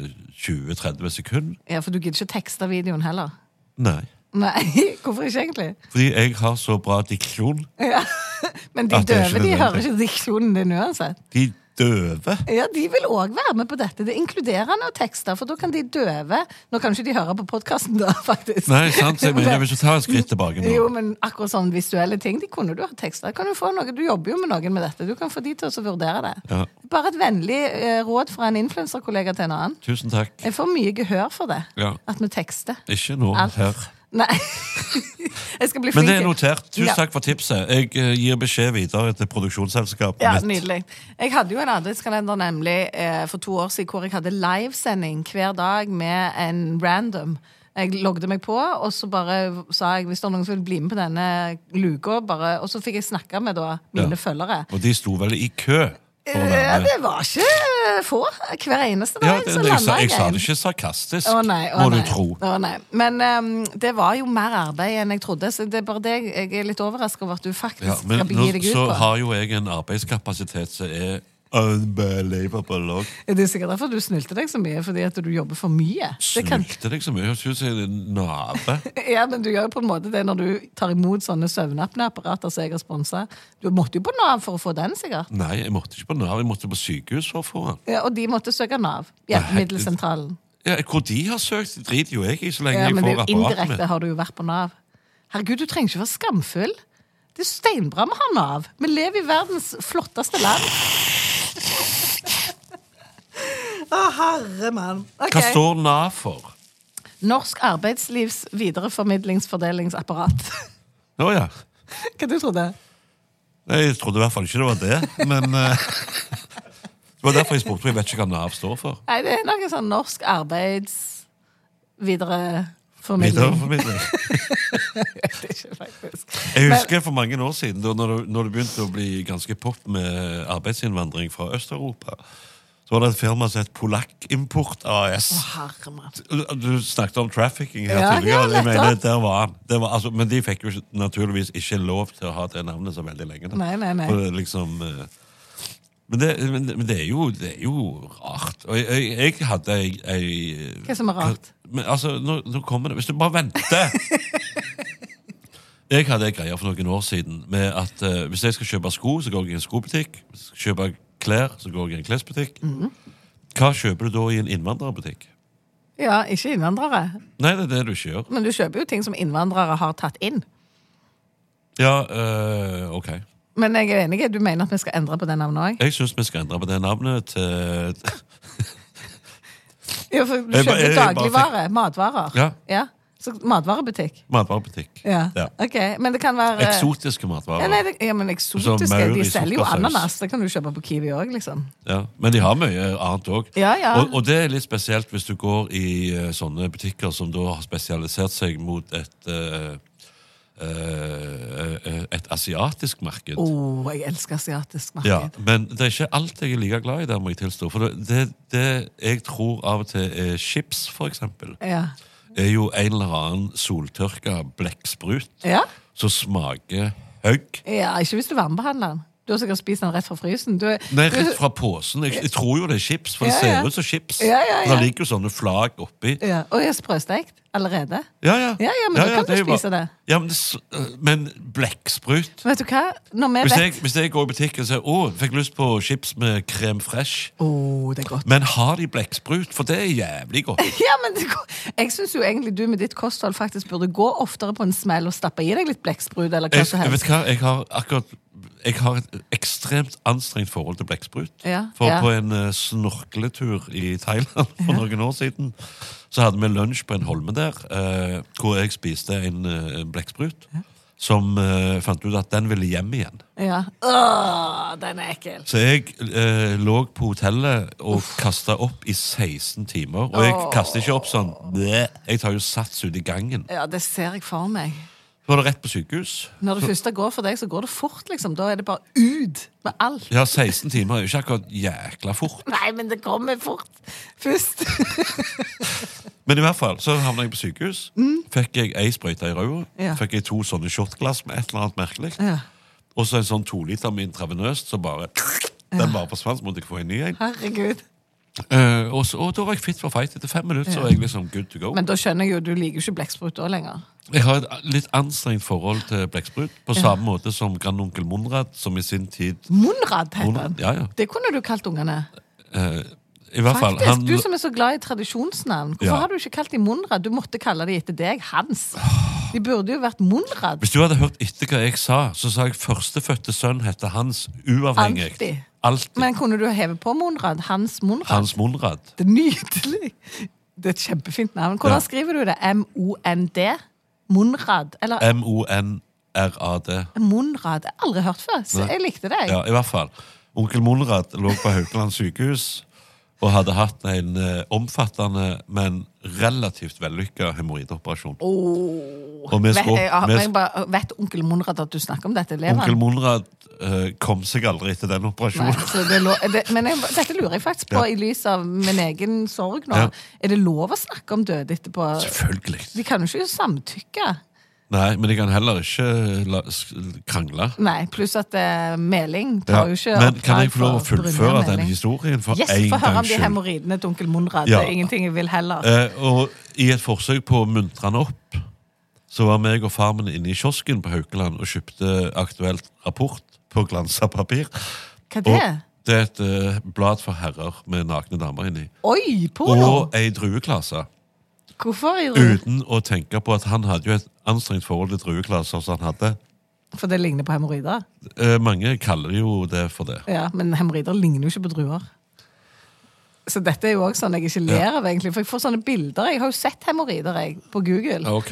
[SPEAKER 2] 20-30 sekunder.
[SPEAKER 1] ja, For du gidder ikke tekste videoen heller.
[SPEAKER 2] Nei.
[SPEAKER 1] Nei, hvorfor ikke egentlig?
[SPEAKER 2] Fordi jeg har så bra diksjon.
[SPEAKER 1] Men de
[SPEAKER 2] At Ah, det er ikke
[SPEAKER 1] døve de hører
[SPEAKER 2] nødvendig.
[SPEAKER 1] ikke diksjonen din uansett.
[SPEAKER 2] De døve.
[SPEAKER 1] Ja, De vil òg være med på dette. Det er inkluderende å tekste, for da kan de døve Nå kan ikke de høre på podkasten, da, faktisk.
[SPEAKER 2] Nei, sant? Så jeg mener, jeg vil ikke ta et skritt tilbake nå.
[SPEAKER 1] Jo, men akkurat sånne visuelle ting, de kunne du ha teksta. Kan du, få noe- du jobber jo med noen med dette. Du kan få de til å vurdere det.
[SPEAKER 2] Ja.
[SPEAKER 1] Bare et vennlig eh, råd fra en influenserkollega til en annen.
[SPEAKER 2] Tusen takk.
[SPEAKER 1] Jeg får mye gehør for det.
[SPEAKER 2] Ja.
[SPEAKER 1] At vi tekster.
[SPEAKER 2] Ikke nå
[SPEAKER 1] Alt.
[SPEAKER 2] her.
[SPEAKER 1] Nei. jeg skal bli flink.
[SPEAKER 2] Men det er notert. Tusen
[SPEAKER 1] Ja.
[SPEAKER 2] takk for tipset. Jeg eh, gir beskjed videre til produksjonsselskapet
[SPEAKER 1] Ja,
[SPEAKER 2] mitt.
[SPEAKER 1] nydelig. Jeg hadde jo en adventskalender nemlig eh, for to år siden hvor jeg hadde livesending hver dag med en random. Jeg logget meg på, og så bare sa jeg hvis det er noen som vil bli med på denne luka. Bare, og så fikk jeg snakke med da mine
[SPEAKER 2] Ja.
[SPEAKER 1] følgere.
[SPEAKER 2] Og de sto vel i kø. for å være
[SPEAKER 1] Ja,
[SPEAKER 2] med.
[SPEAKER 1] det var ikke eh, få. Hver eneste
[SPEAKER 2] Ja,
[SPEAKER 1] dag
[SPEAKER 2] det,
[SPEAKER 1] så
[SPEAKER 2] jeg, sa,
[SPEAKER 1] lander
[SPEAKER 2] jeg
[SPEAKER 1] jeg
[SPEAKER 2] sa
[SPEAKER 1] en.
[SPEAKER 2] det ikke sarkastisk,
[SPEAKER 1] Å nei, å
[SPEAKER 2] må
[SPEAKER 1] nei,
[SPEAKER 2] du tro.
[SPEAKER 1] Å nei. Men ehm, det var jo mer arbeid enn jeg trodde, så det er bare det jeg- jeg er litt overrasket over at du faktisk
[SPEAKER 2] Ja, men
[SPEAKER 1] skal
[SPEAKER 2] nå
[SPEAKER 1] begi deg ut
[SPEAKER 2] så
[SPEAKER 1] på.
[SPEAKER 2] har jo jeg en arbeidskapasitet som er unbelievable. Og
[SPEAKER 1] Det er sikkert derfor du snylte deg så mye, fordi at du jobber for mye. Det kan...
[SPEAKER 2] snylte deg så mye. Høres ut som jeg er en nave.
[SPEAKER 1] Ja, men du gjør jo på en måte det når du tar imot sånne søvnapneapparater som jeg har sponsa. Du måtte jo på Nav for å få den, sikkert.
[SPEAKER 2] Nei, jeg måtte ikke på Nav, jeg måtte på sykehus for å få den.
[SPEAKER 1] Ja, og de måtte søke Nav. Hjelpemiddelsentralen.
[SPEAKER 2] Ja, hvor de har søkt, det driter jo jeg i, så lenge
[SPEAKER 1] Ja,
[SPEAKER 2] jeg
[SPEAKER 1] men det er
[SPEAKER 2] får
[SPEAKER 1] jo
[SPEAKER 2] apparatet mitt.
[SPEAKER 1] indirekte har du jo vært på Nav. Herregud, du trenger ikke være skamfull. Det er jo steinbra vi har Nav. Vi lever i verdens flotteste land. Å, herre mann. Ok.
[SPEAKER 2] Hva står Nav for?
[SPEAKER 1] Norsk arbeidslivs videreformidlingsfordelingsapparat.
[SPEAKER 2] Å ja.
[SPEAKER 1] Hva du trodde du?
[SPEAKER 2] Nei, Jeg trodde i hvert fall ikke det var det, men eh, Det var derfor jeg spurte, for jeg vet ikke hva Nav står for.
[SPEAKER 1] Nei, det er noe sånn norsk arbeids videreformidling.
[SPEAKER 2] Videreformidling.
[SPEAKER 1] Det er ikke faktisk.
[SPEAKER 2] Jeg husker for mange år siden, da når det, når det begynte å bli ganske pop med arbeidsinnvandring fra Øst-Europa, så var det et firma som het Polakkimport AS.
[SPEAKER 1] Herre mann.
[SPEAKER 2] Du snakket om trafficking her
[SPEAKER 1] Ja,
[SPEAKER 2] tidligere.
[SPEAKER 1] ja,
[SPEAKER 2] jeg mener,
[SPEAKER 1] nettopp.
[SPEAKER 2] der var han. Det var, altså, men de fikk jo ikke- naturligvis ikke lov til å ha det navnet så veldig lenge. da.
[SPEAKER 1] Nei, nei, nei.
[SPEAKER 2] For det er liksom... eh, Men det, men det- men det, er, jo, det er jo rart. Og jeg, jeg, jeg hadde ei, ei
[SPEAKER 1] Hva som er rart?
[SPEAKER 2] Men altså, nå, nå kommer det Hvis du bare venter! Jeg hadde ei greie for noen år siden med at eh, hvis jeg skal kjøpe sko, så går jeg i en skobutikk. Hvis jeg skal kjøpe klær, så går jeg i en klesbutikk.
[SPEAKER 1] Mhm.
[SPEAKER 2] Hva kjøper du da i en innvandrerbutikk?
[SPEAKER 1] Ja, ikke innvandrere.
[SPEAKER 2] Nei, det er det du ikke gjør.
[SPEAKER 1] Men du kjøper jo ting som innvandrere har tatt inn.
[SPEAKER 2] Ja, øh, ok.
[SPEAKER 1] Men jeg er enig, du mener at vi skal endre på det navnet òg?
[SPEAKER 2] Jeg syns vi skal endre på det navnet til
[SPEAKER 1] Ja, for du
[SPEAKER 2] Jeg bare-
[SPEAKER 1] kjøper
[SPEAKER 2] jeg bare
[SPEAKER 1] dagligvare. Matvarer.
[SPEAKER 2] Ja.
[SPEAKER 1] Så matvarebutikk.
[SPEAKER 2] matvarebutikk.
[SPEAKER 1] Ja.
[SPEAKER 2] Ja.
[SPEAKER 1] Ok, Men det kan være
[SPEAKER 2] Eksotiske Altså,
[SPEAKER 1] Ja, nei,
[SPEAKER 2] matvarer.
[SPEAKER 1] det, ja, men
[SPEAKER 2] Som
[SPEAKER 1] eksotiske.
[SPEAKER 2] maur i
[SPEAKER 1] De selger jo
[SPEAKER 2] sukkersaus.
[SPEAKER 1] ananas. Det kan du kjøpe på Kiwi òg, liksom.
[SPEAKER 2] Ja. Men de har mye annet òg.
[SPEAKER 1] Ja, ja.
[SPEAKER 2] Og, og det er litt spesielt hvis du går i eh, sånne butikker som da har spesialisert seg mot et eh, eh, eh, et asiatisk marked.
[SPEAKER 1] Å, jeg elsker asiatisk Oh, marked.
[SPEAKER 2] Ja, men det er ikke alt jeg er like glad i der, må jeg tilstå. For det, det, det jeg tror av og til er chips, for eksempel.
[SPEAKER 1] Ja.
[SPEAKER 2] er jo en eller annen soltørka blekksprut
[SPEAKER 1] ja?
[SPEAKER 2] som smaker høgg.
[SPEAKER 1] Ja, Ikke hvis du varmebehandler den. Du har sikkert spist den rett fra frysen. Du,
[SPEAKER 2] Nei, rett fra posen. Jeg, jeg tror jo det er chips, for det
[SPEAKER 1] Ja, ja.
[SPEAKER 2] ser ut som chips.
[SPEAKER 1] Ja, ja, ja.
[SPEAKER 2] Det ligger jo sånne flagg oppi.
[SPEAKER 1] ja. Og jeg er sprøstekt allerede.
[SPEAKER 2] Ja, ja.
[SPEAKER 1] Ja, ja, men da kan du
[SPEAKER 2] er jo bare-
[SPEAKER 1] spise det.
[SPEAKER 2] Ja, men, det s- øh, men blekksprut
[SPEAKER 1] Vet du hva? Når vi
[SPEAKER 2] hvis jeg,
[SPEAKER 1] vet
[SPEAKER 2] hvis jeg går i butikken og sier å, jeg fikk lyst på chips med krem fresh,
[SPEAKER 1] Å, det er godt.
[SPEAKER 2] men har de blekksprut? For det er jævlig godt.
[SPEAKER 1] Ja, men det, går- jeg syns jo egentlig du med ditt kosthold faktisk burde gå oftere på en smell og stappe i deg litt blekksprut eller hva
[SPEAKER 2] Jeg,
[SPEAKER 1] som
[SPEAKER 2] jeg vet
[SPEAKER 1] helst.
[SPEAKER 2] hva, jeg har akkurat jeg har et ekstremt anstrengt forhold til blekksprut.
[SPEAKER 1] Ja,
[SPEAKER 2] for
[SPEAKER 1] ja.
[SPEAKER 2] på en eh, snorkletur i Thailand for noen år siden, så hadde vi lunsj på en holme der, eh, hvor jeg spiste en eh, blekksprut. Som eh, fant ut at den ville hjem igjen.
[SPEAKER 1] Ja. Åh, den er ekkel.
[SPEAKER 2] Så jeg eh, lå på hotellet og kasta opp i 16 timer. Og jeg kaster ikke opp sånn bleh. Jeg tar jo sats ute i gangen.
[SPEAKER 1] Ja, det ser jeg for meg.
[SPEAKER 2] Så var det rett på sykehus.
[SPEAKER 1] Når det første går for deg, så går det fort, liksom. Da er det bare ut med alt.
[SPEAKER 2] Ja, 16 timer er jo ikke akkurat jækla fort.
[SPEAKER 1] Nei, men det kommer fort først.
[SPEAKER 2] Men i hvert fall, så havna jeg på sykehus. Fikk jeg ei sprøyte i røda.
[SPEAKER 1] Mm. Ja.
[SPEAKER 2] Fikk jeg to sånne shotglass med et eller annet merkelig.
[SPEAKER 1] Ja.
[SPEAKER 2] Og så en sånn toliter med intravenøst, så bare Den bare forsvant, så måtte jeg få en ny en.
[SPEAKER 1] Herregud.
[SPEAKER 2] Eh, og, så, og da var jeg fit for fight. Etter fem minutter så var jeg liksom good to go.
[SPEAKER 1] Men da skjønner jeg jo, du liker jo ikke blekksprut da lenger.
[SPEAKER 2] Jeg har et litt anstrengt forhold til blekksprut, på samme måte som grandonkel Monrad, som i sin tid
[SPEAKER 1] Monrad heter
[SPEAKER 2] Monrad,
[SPEAKER 1] den.
[SPEAKER 2] ja, ja.
[SPEAKER 1] Det kunne du kalt ungene.
[SPEAKER 2] eh, I hvert fall
[SPEAKER 1] Faktisk,
[SPEAKER 2] han,
[SPEAKER 1] Du som er så glad i tradisjonsnavn. Hvorfor
[SPEAKER 2] Ja.
[SPEAKER 1] har du ikke kalt dem Monrad? Du måtte kalle dem etter deg, Hans. De burde jo vært Monrad.
[SPEAKER 2] Hvis du hadde hørt etter hva jeg sa, så sa jeg førstefødte sønn heter Hans, uavhengig.
[SPEAKER 1] Alltid.
[SPEAKER 2] Alltid.
[SPEAKER 1] Men kunne du heve på Monrad? Hans Monrad?
[SPEAKER 2] Hans Monrad.
[SPEAKER 1] Det er nydelig! Det er et kjempefint navn. Hvordan
[SPEAKER 2] Ja.
[SPEAKER 1] skriver du det? M-O-N-D? Monrad? Eller
[SPEAKER 2] M-O-N-R-A-D.
[SPEAKER 1] Monrad? Jeg har aldri hørt før, så jeg likte det. jeg.
[SPEAKER 2] Ja, i hvert fall. Onkel Monrad lå på Haukeland sykehus. og hadde hatt en eh, omfattende, men relativt vellykka hemoroideoperasjon.
[SPEAKER 1] Åh.
[SPEAKER 2] Og vi
[SPEAKER 1] vet,
[SPEAKER 2] skulle-
[SPEAKER 1] jeg, jeg,
[SPEAKER 2] vi-
[SPEAKER 1] jeg bare, vet onkel Monrad at du snakker om dette? Lever
[SPEAKER 2] Onkel
[SPEAKER 1] han?
[SPEAKER 2] Monrad eh, kom seg aldri etter den
[SPEAKER 1] Nei,
[SPEAKER 2] operasjonen.
[SPEAKER 1] så det er lov, det, men jeg, dette lurer jeg faktisk på i
[SPEAKER 2] Ja.
[SPEAKER 1] lys av min egen sorg nå.
[SPEAKER 2] Ja.
[SPEAKER 1] Er det lov å snakke om død etterpå?
[SPEAKER 2] Selvfølgelig.
[SPEAKER 1] De kan jo ikke samtykke.
[SPEAKER 2] Nei, men jeg kan heller ikke la, s- krangle.
[SPEAKER 1] Nei, pluss at eh, meling
[SPEAKER 2] Ja,
[SPEAKER 1] tar jo ikke
[SPEAKER 2] Men kan
[SPEAKER 1] oppdrag
[SPEAKER 2] jeg få lov å
[SPEAKER 1] for
[SPEAKER 2] fullføre
[SPEAKER 1] Brynjar
[SPEAKER 2] den
[SPEAKER 1] Meling.
[SPEAKER 2] historien for
[SPEAKER 1] Yes,
[SPEAKER 2] en
[SPEAKER 1] få høre om
[SPEAKER 2] gangs
[SPEAKER 1] de
[SPEAKER 2] skyld?
[SPEAKER 1] hemoroidene til onkel Monrad.
[SPEAKER 2] Ja.
[SPEAKER 1] Det er ingenting jeg vil heller.
[SPEAKER 2] Eh, og i et forsøk på å muntre han opp, så var meg og far min inne i kiosken på Haukeland og kjøpte aktuelt rapport på glansa papir.
[SPEAKER 1] Hva er det?
[SPEAKER 2] Og det er et eh, blad for herrer med nakne damer inni.
[SPEAKER 1] Oi, porno!
[SPEAKER 2] Og ei drueklase.
[SPEAKER 1] Hvorfor? Irene?
[SPEAKER 2] Uten å tenke på at han hadde jo et anstrengt forhold til drueklaser som han hadde.
[SPEAKER 1] For det ligner på hemoroider.
[SPEAKER 2] Eh, mange kaller det jo det for det.
[SPEAKER 1] Ja, men hemoroider ligner jo ikke på druer. Så dette er jo også sånn jeg ikke ler av, egentlig. For jeg får sånne bilder. Jeg har jo sett hemoroider jeg, på Google.
[SPEAKER 2] Ok.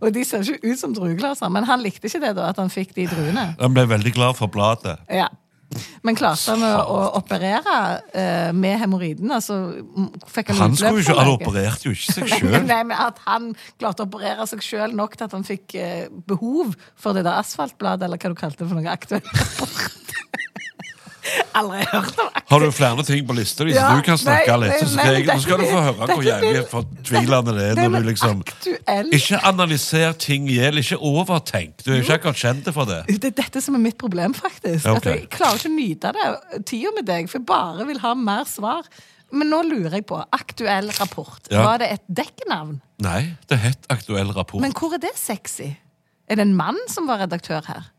[SPEAKER 1] Og de ser ikke ut som drueglaser. Men han likte ikke det, da, at han fikk de druene.
[SPEAKER 2] Han ble veldig glad for bladet.
[SPEAKER 1] Ja. Men klarte han å, å operere eh, med hemoroiden? Altså, m- fikk han,
[SPEAKER 2] Han,
[SPEAKER 1] utløp
[SPEAKER 2] skulle jo ikke,
[SPEAKER 1] for
[SPEAKER 2] han
[SPEAKER 1] noe?
[SPEAKER 2] opererte jo ikke seg
[SPEAKER 1] Nei,
[SPEAKER 2] sjøl.
[SPEAKER 1] Nei, men At han klarte å operere seg sjøl nok til at han fikk eh, behov for det der asfaltbladet, eller hva du kalte det for noe aktuelt. Aldri hørt om
[SPEAKER 2] Har du flere ting på lista di, så
[SPEAKER 1] Ja,
[SPEAKER 2] du kan snakke
[SPEAKER 1] nei,
[SPEAKER 2] litt?
[SPEAKER 1] nei,
[SPEAKER 2] Så skal
[SPEAKER 1] nei,
[SPEAKER 2] jeg, nå skal du få høre hvor
[SPEAKER 1] dette blir-
[SPEAKER 2] jævlig fortvilende det er
[SPEAKER 1] Nei,
[SPEAKER 2] når
[SPEAKER 1] men
[SPEAKER 2] du liksom
[SPEAKER 1] aktuell.
[SPEAKER 2] Ikke analyser ting i hjel, ikke overtenk. Du er ikke akkurat kjent for det.
[SPEAKER 1] Det er dette som er mitt problem, faktisk.
[SPEAKER 2] Ja, ok.
[SPEAKER 1] At jeg klarer ikke å nyte det tida med deg, for jeg bare vil ha mer svar. Men nå lurer jeg på. Aktuell rapport.
[SPEAKER 2] Ja. Oh.
[SPEAKER 1] Var det et dekknavn?
[SPEAKER 2] Nei, det het Aktuell rapport.
[SPEAKER 1] Men hvor er det sexy? Er det en mann som var redaktør her?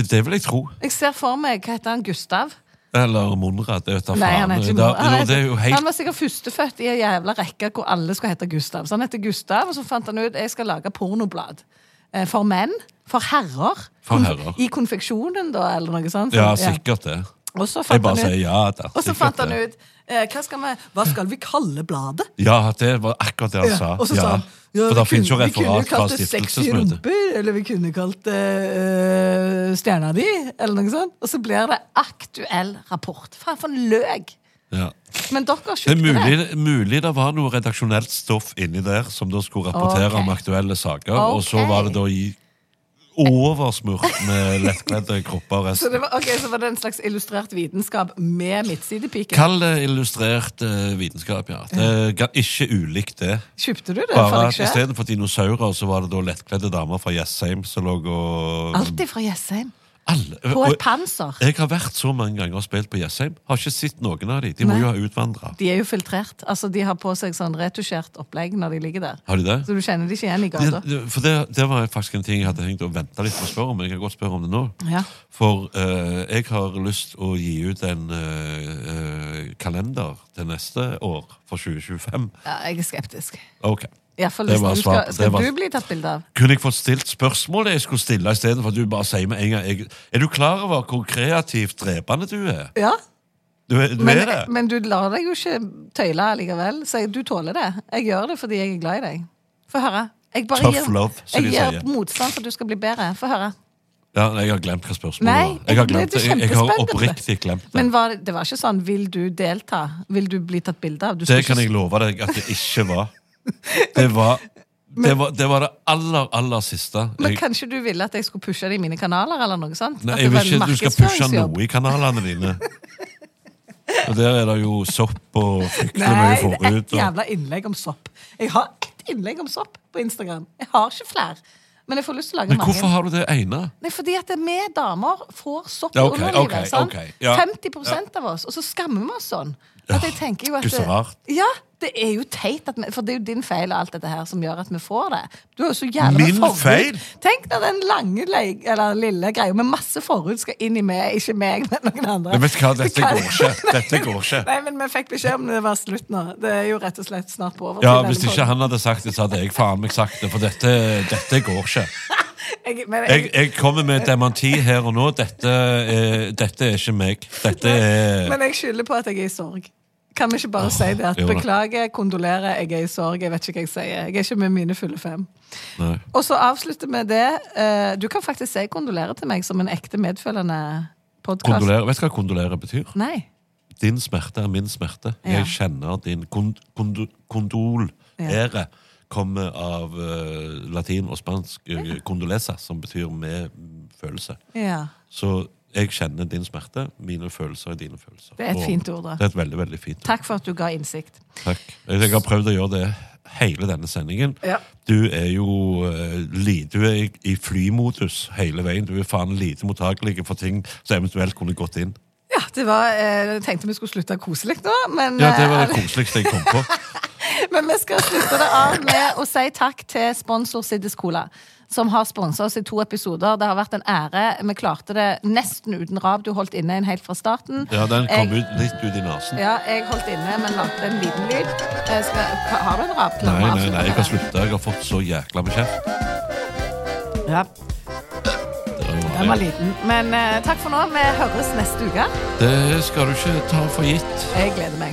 [SPEAKER 2] Det vil jeg tro.
[SPEAKER 1] Jeg ser for meg Hva heter han? Gustav?
[SPEAKER 2] Eller Monrad. Det vet jeg
[SPEAKER 1] Nei, han
[SPEAKER 2] faen.
[SPEAKER 1] heter ikke
[SPEAKER 2] Da-
[SPEAKER 1] Mor- han,
[SPEAKER 2] jo, Det er jo
[SPEAKER 1] heter- han
[SPEAKER 2] helt
[SPEAKER 1] var sikkert førstefødt i en jævla rekke hvor alle skulle hete Gustav. Så han heter Gustav, og så fant han ut jeg skal lage pornoblad. Eh, For menn. For herrer.
[SPEAKER 2] For
[SPEAKER 1] Konf-
[SPEAKER 2] herrer.
[SPEAKER 1] I konfeksjonen, da, eller noe sånt.
[SPEAKER 2] Ja, sikkert det.
[SPEAKER 1] Og så
[SPEAKER 2] Jeg
[SPEAKER 1] fant
[SPEAKER 2] bare
[SPEAKER 1] han
[SPEAKER 2] sier
[SPEAKER 1] ut,
[SPEAKER 2] ja. Det er
[SPEAKER 1] og så
[SPEAKER 2] sikkert
[SPEAKER 1] fant han
[SPEAKER 2] det.
[SPEAKER 1] ut eh, hva, skal vi, hva skal vi kalle bladet?
[SPEAKER 2] Ja, det var akkurat det han sa.
[SPEAKER 1] Og så
[SPEAKER 2] Altså, Ja.
[SPEAKER 1] sa han ja,
[SPEAKER 2] For
[SPEAKER 1] vi
[SPEAKER 2] det finnes jo
[SPEAKER 1] kunne- vi kunne
[SPEAKER 2] referat fra
[SPEAKER 1] kalt det sexy
[SPEAKER 2] stiftelsesmøtet.
[SPEAKER 1] rumper, Eller vi kunne kalt det eh, Stjerna di, eller noe sånt. Og så blir det aktuell rapport. Faen, for en løk!
[SPEAKER 2] Ja.
[SPEAKER 1] Men dere
[SPEAKER 2] Det er
[SPEAKER 1] kjøpte
[SPEAKER 2] mulig, mulig det var noe redaksjonelt stoff inni der som da skulle rapportere
[SPEAKER 1] Ok.
[SPEAKER 2] om aktuelle saker, og så
[SPEAKER 1] Ok.
[SPEAKER 2] var det da i oversmurt med lettkledde kropper og
[SPEAKER 1] Så det
[SPEAKER 2] resten.
[SPEAKER 1] var, ok, så var det en slags illustrert vitenskap med midtsidepike?
[SPEAKER 2] Kall det illustrert eh, vitenskap, ja. Det er ga- ikke ulikt det.
[SPEAKER 1] Kjøpte du det for
[SPEAKER 2] Bare
[SPEAKER 1] deg
[SPEAKER 2] at
[SPEAKER 1] sjøl?
[SPEAKER 2] istedenfor dinosaurer, så var det da lettkledde damer fra Jessheim som lå og
[SPEAKER 1] Alltid fra Jessheim.
[SPEAKER 2] Alle-
[SPEAKER 1] Ah, På
[SPEAKER 2] og-
[SPEAKER 1] et panser.
[SPEAKER 2] Jeg har vært så mange ganger og spilt på Jessheim. Har ikke sett noen av de. De må
[SPEAKER 1] Nei.
[SPEAKER 2] jo ha utvandra.
[SPEAKER 1] De er jo filtrert. Altså, De har på seg sånn retusjert opplegg når de ligger der.
[SPEAKER 2] Har de
[SPEAKER 1] Så
[SPEAKER 2] det?
[SPEAKER 1] du kjenner de ikke igjen i gata.
[SPEAKER 2] Det, det, for det, det var faktisk en ting jeg hadde tenkt å vente litt med å spørre om. Men jeg kan godt spørre om det nå.
[SPEAKER 1] Ja.
[SPEAKER 2] For eh, jeg har lyst å gi ut en eh, eh, kalender til neste år, for 2025.
[SPEAKER 1] Ja, jeg er skeptisk.
[SPEAKER 2] Ok.
[SPEAKER 1] I hvert fall
[SPEAKER 2] Det
[SPEAKER 1] hvis
[SPEAKER 2] var
[SPEAKER 1] du
[SPEAKER 2] svar på-
[SPEAKER 1] skal,
[SPEAKER 2] det
[SPEAKER 1] skal
[SPEAKER 2] var-
[SPEAKER 1] du bli tatt bilde av?
[SPEAKER 2] Kunne jeg fått stilt spørsmålet jeg skulle stille, istedenfor at du bare sier med en gang jeg, Er du klar over hvor kreativt drepende du er?
[SPEAKER 1] Ja.
[SPEAKER 2] Du, er- du
[SPEAKER 1] Men,
[SPEAKER 2] er det.
[SPEAKER 1] men du lar deg jo ikke tøyle likevel. Så jeg- du tåler det. Jeg gjør det fordi jeg er glad i deg. Få høre. Jeg bare
[SPEAKER 2] Tough
[SPEAKER 1] gir,
[SPEAKER 2] love, som
[SPEAKER 1] jeg
[SPEAKER 2] de
[SPEAKER 1] gir
[SPEAKER 2] sier.
[SPEAKER 1] motstand for at du skal bli bedre. Få høre.
[SPEAKER 2] Ja, nei, jeg har glemt hva spørsmålet
[SPEAKER 1] Nei,
[SPEAKER 2] var. Jeg har,
[SPEAKER 1] det- det
[SPEAKER 2] glemt, det.
[SPEAKER 1] er
[SPEAKER 2] jeg, jeg har
[SPEAKER 1] kjempespennende.
[SPEAKER 2] oppriktig glemt det.
[SPEAKER 1] Men var, det var ikke sånn 'vil du delta'? Vil du bli tatt bilde av? Du
[SPEAKER 2] Det
[SPEAKER 1] skulle
[SPEAKER 2] kan
[SPEAKER 1] ikke-
[SPEAKER 2] jeg love deg at det ikke var. Det var det, var, det, var det aller, aller siste.
[SPEAKER 1] Men
[SPEAKER 2] Jeg-
[SPEAKER 1] kanskje du ville at jeg skulle pushe det i mine kanaler? eller noe sånt?
[SPEAKER 2] Nei,
[SPEAKER 1] At
[SPEAKER 2] jeg
[SPEAKER 1] det var
[SPEAKER 2] vil
[SPEAKER 1] en
[SPEAKER 2] ikke at du skal pushe
[SPEAKER 1] markedsføringsjobb?
[SPEAKER 2] noe i kanalene dine. Og der er det jo sopp og fryktelig mye
[SPEAKER 1] Nei, det er
[SPEAKER 2] forut.
[SPEAKER 1] ett
[SPEAKER 2] Og...
[SPEAKER 1] jævla innlegg om sopp. Jeg har ett innlegg om sopp på Instagram. Jeg har ikke flere. Men jeg får lyst til å lage
[SPEAKER 2] Men
[SPEAKER 1] mange.
[SPEAKER 2] hvorfor har du det ene?
[SPEAKER 1] Nei, fordi at vi damer får sopp i
[SPEAKER 2] Ja, ok,
[SPEAKER 1] underlivet.
[SPEAKER 2] ok,
[SPEAKER 1] sant?
[SPEAKER 2] ok, ja.
[SPEAKER 1] 50 av oss, og så skammer vi oss sånn. At jeg tenker jo at
[SPEAKER 2] Gud, så rart.
[SPEAKER 1] Ja, det er jo teit, at vi, for det er jo din feil og alt dette her som gjør at vi får det. Du har jo så jævla
[SPEAKER 2] Min
[SPEAKER 1] forhud.
[SPEAKER 2] feil?
[SPEAKER 1] Tenk når den lange, leik- eller lille greia med masse forhud skal inn i meg, ikke meg, men noen andre.
[SPEAKER 2] Jeg vet hva, dette
[SPEAKER 1] Det kan-
[SPEAKER 2] går ikke. Dette går ikke.
[SPEAKER 1] Nei, men vi fikk beskjed om det var slutt nå. Det er jo rett og slett snart på overtid.
[SPEAKER 2] Ja,
[SPEAKER 1] denne
[SPEAKER 2] Hvis ikke
[SPEAKER 1] podden.
[SPEAKER 2] han hadde sagt det, så hadde jeg faen meg sagt det. For dette, dette går ikke.
[SPEAKER 1] Jeg, men jeg,
[SPEAKER 2] Jeg, jeg kommer med dementi her og nå. Dette er, dette er ikke meg. Dette er
[SPEAKER 1] Men jeg skylder på at jeg er i sorg. Kan vi ikke bare si det? at
[SPEAKER 2] jo da.
[SPEAKER 1] Beklager, kondolerer, jeg er i sorg. Jeg vet ikke hva jeg sier. Jeg er ikke med mine fulle fem.
[SPEAKER 2] Nei.
[SPEAKER 1] Og så avslutter vi det. eh, Du kan faktisk si kondolerer til meg som en ekte medfølende podkast.
[SPEAKER 2] Kondolerer. Vet du hva kondolere betyr?
[SPEAKER 1] Nei.
[SPEAKER 2] Din smerte er min smerte.
[SPEAKER 1] Ja.
[SPEAKER 2] Jeg kjenner din kon kondo kondol.
[SPEAKER 1] Ja.
[SPEAKER 2] Ære kommer av eh, latin og spansk eh, condolesa, som betyr med følelse.
[SPEAKER 1] Ja.
[SPEAKER 2] Så jeg kjenner din smerte, mine følelser er dine følelser.
[SPEAKER 1] Det er et
[SPEAKER 2] Og
[SPEAKER 1] fint ord, da.
[SPEAKER 2] Det er et veldig, veldig fint ord.
[SPEAKER 1] Takk for at du ga innsikt.
[SPEAKER 2] Takk. Jeg har prøvd å gjøre det hele denne sendingen.
[SPEAKER 1] Ja.
[SPEAKER 2] Du er jo eh, li- du er i- i flymodus hele veien. Du er faen lite mottakelig for ting som eventuelt kunne gått inn.
[SPEAKER 1] Ja, det var, eh, Jeg tenkte vi skulle slutte koselig nå, men,
[SPEAKER 2] Ja, Det var det
[SPEAKER 1] eh,
[SPEAKER 2] koseligste jeg kom på.
[SPEAKER 1] men vi skal slutte det av med å si takk til sponsor Siddis Cola. Som har sponsa oss i to episoder. Det har vært en ære. Vi klarte det nesten uten rab. Du holdt inne en helt fra starten.
[SPEAKER 2] Ja, Den kom
[SPEAKER 1] Jeg-
[SPEAKER 2] ut litt ut i nesen.
[SPEAKER 1] Ja, jeg holdt inne, men lagde en liten lyd. Eh, Skal, har du en
[SPEAKER 2] Nei,
[SPEAKER 1] rapklamme?
[SPEAKER 2] nei, nei, jeg har slutta. Jeg har fått så jækla med kjeft.
[SPEAKER 1] Ja,
[SPEAKER 2] Det er
[SPEAKER 1] den
[SPEAKER 2] jo
[SPEAKER 1] var
[SPEAKER 2] vanlig.
[SPEAKER 1] liten. Men eh, takk for nå. Vi høres neste uke.
[SPEAKER 2] Det skal du ikke ta for gitt.
[SPEAKER 1] Jeg gleder meg.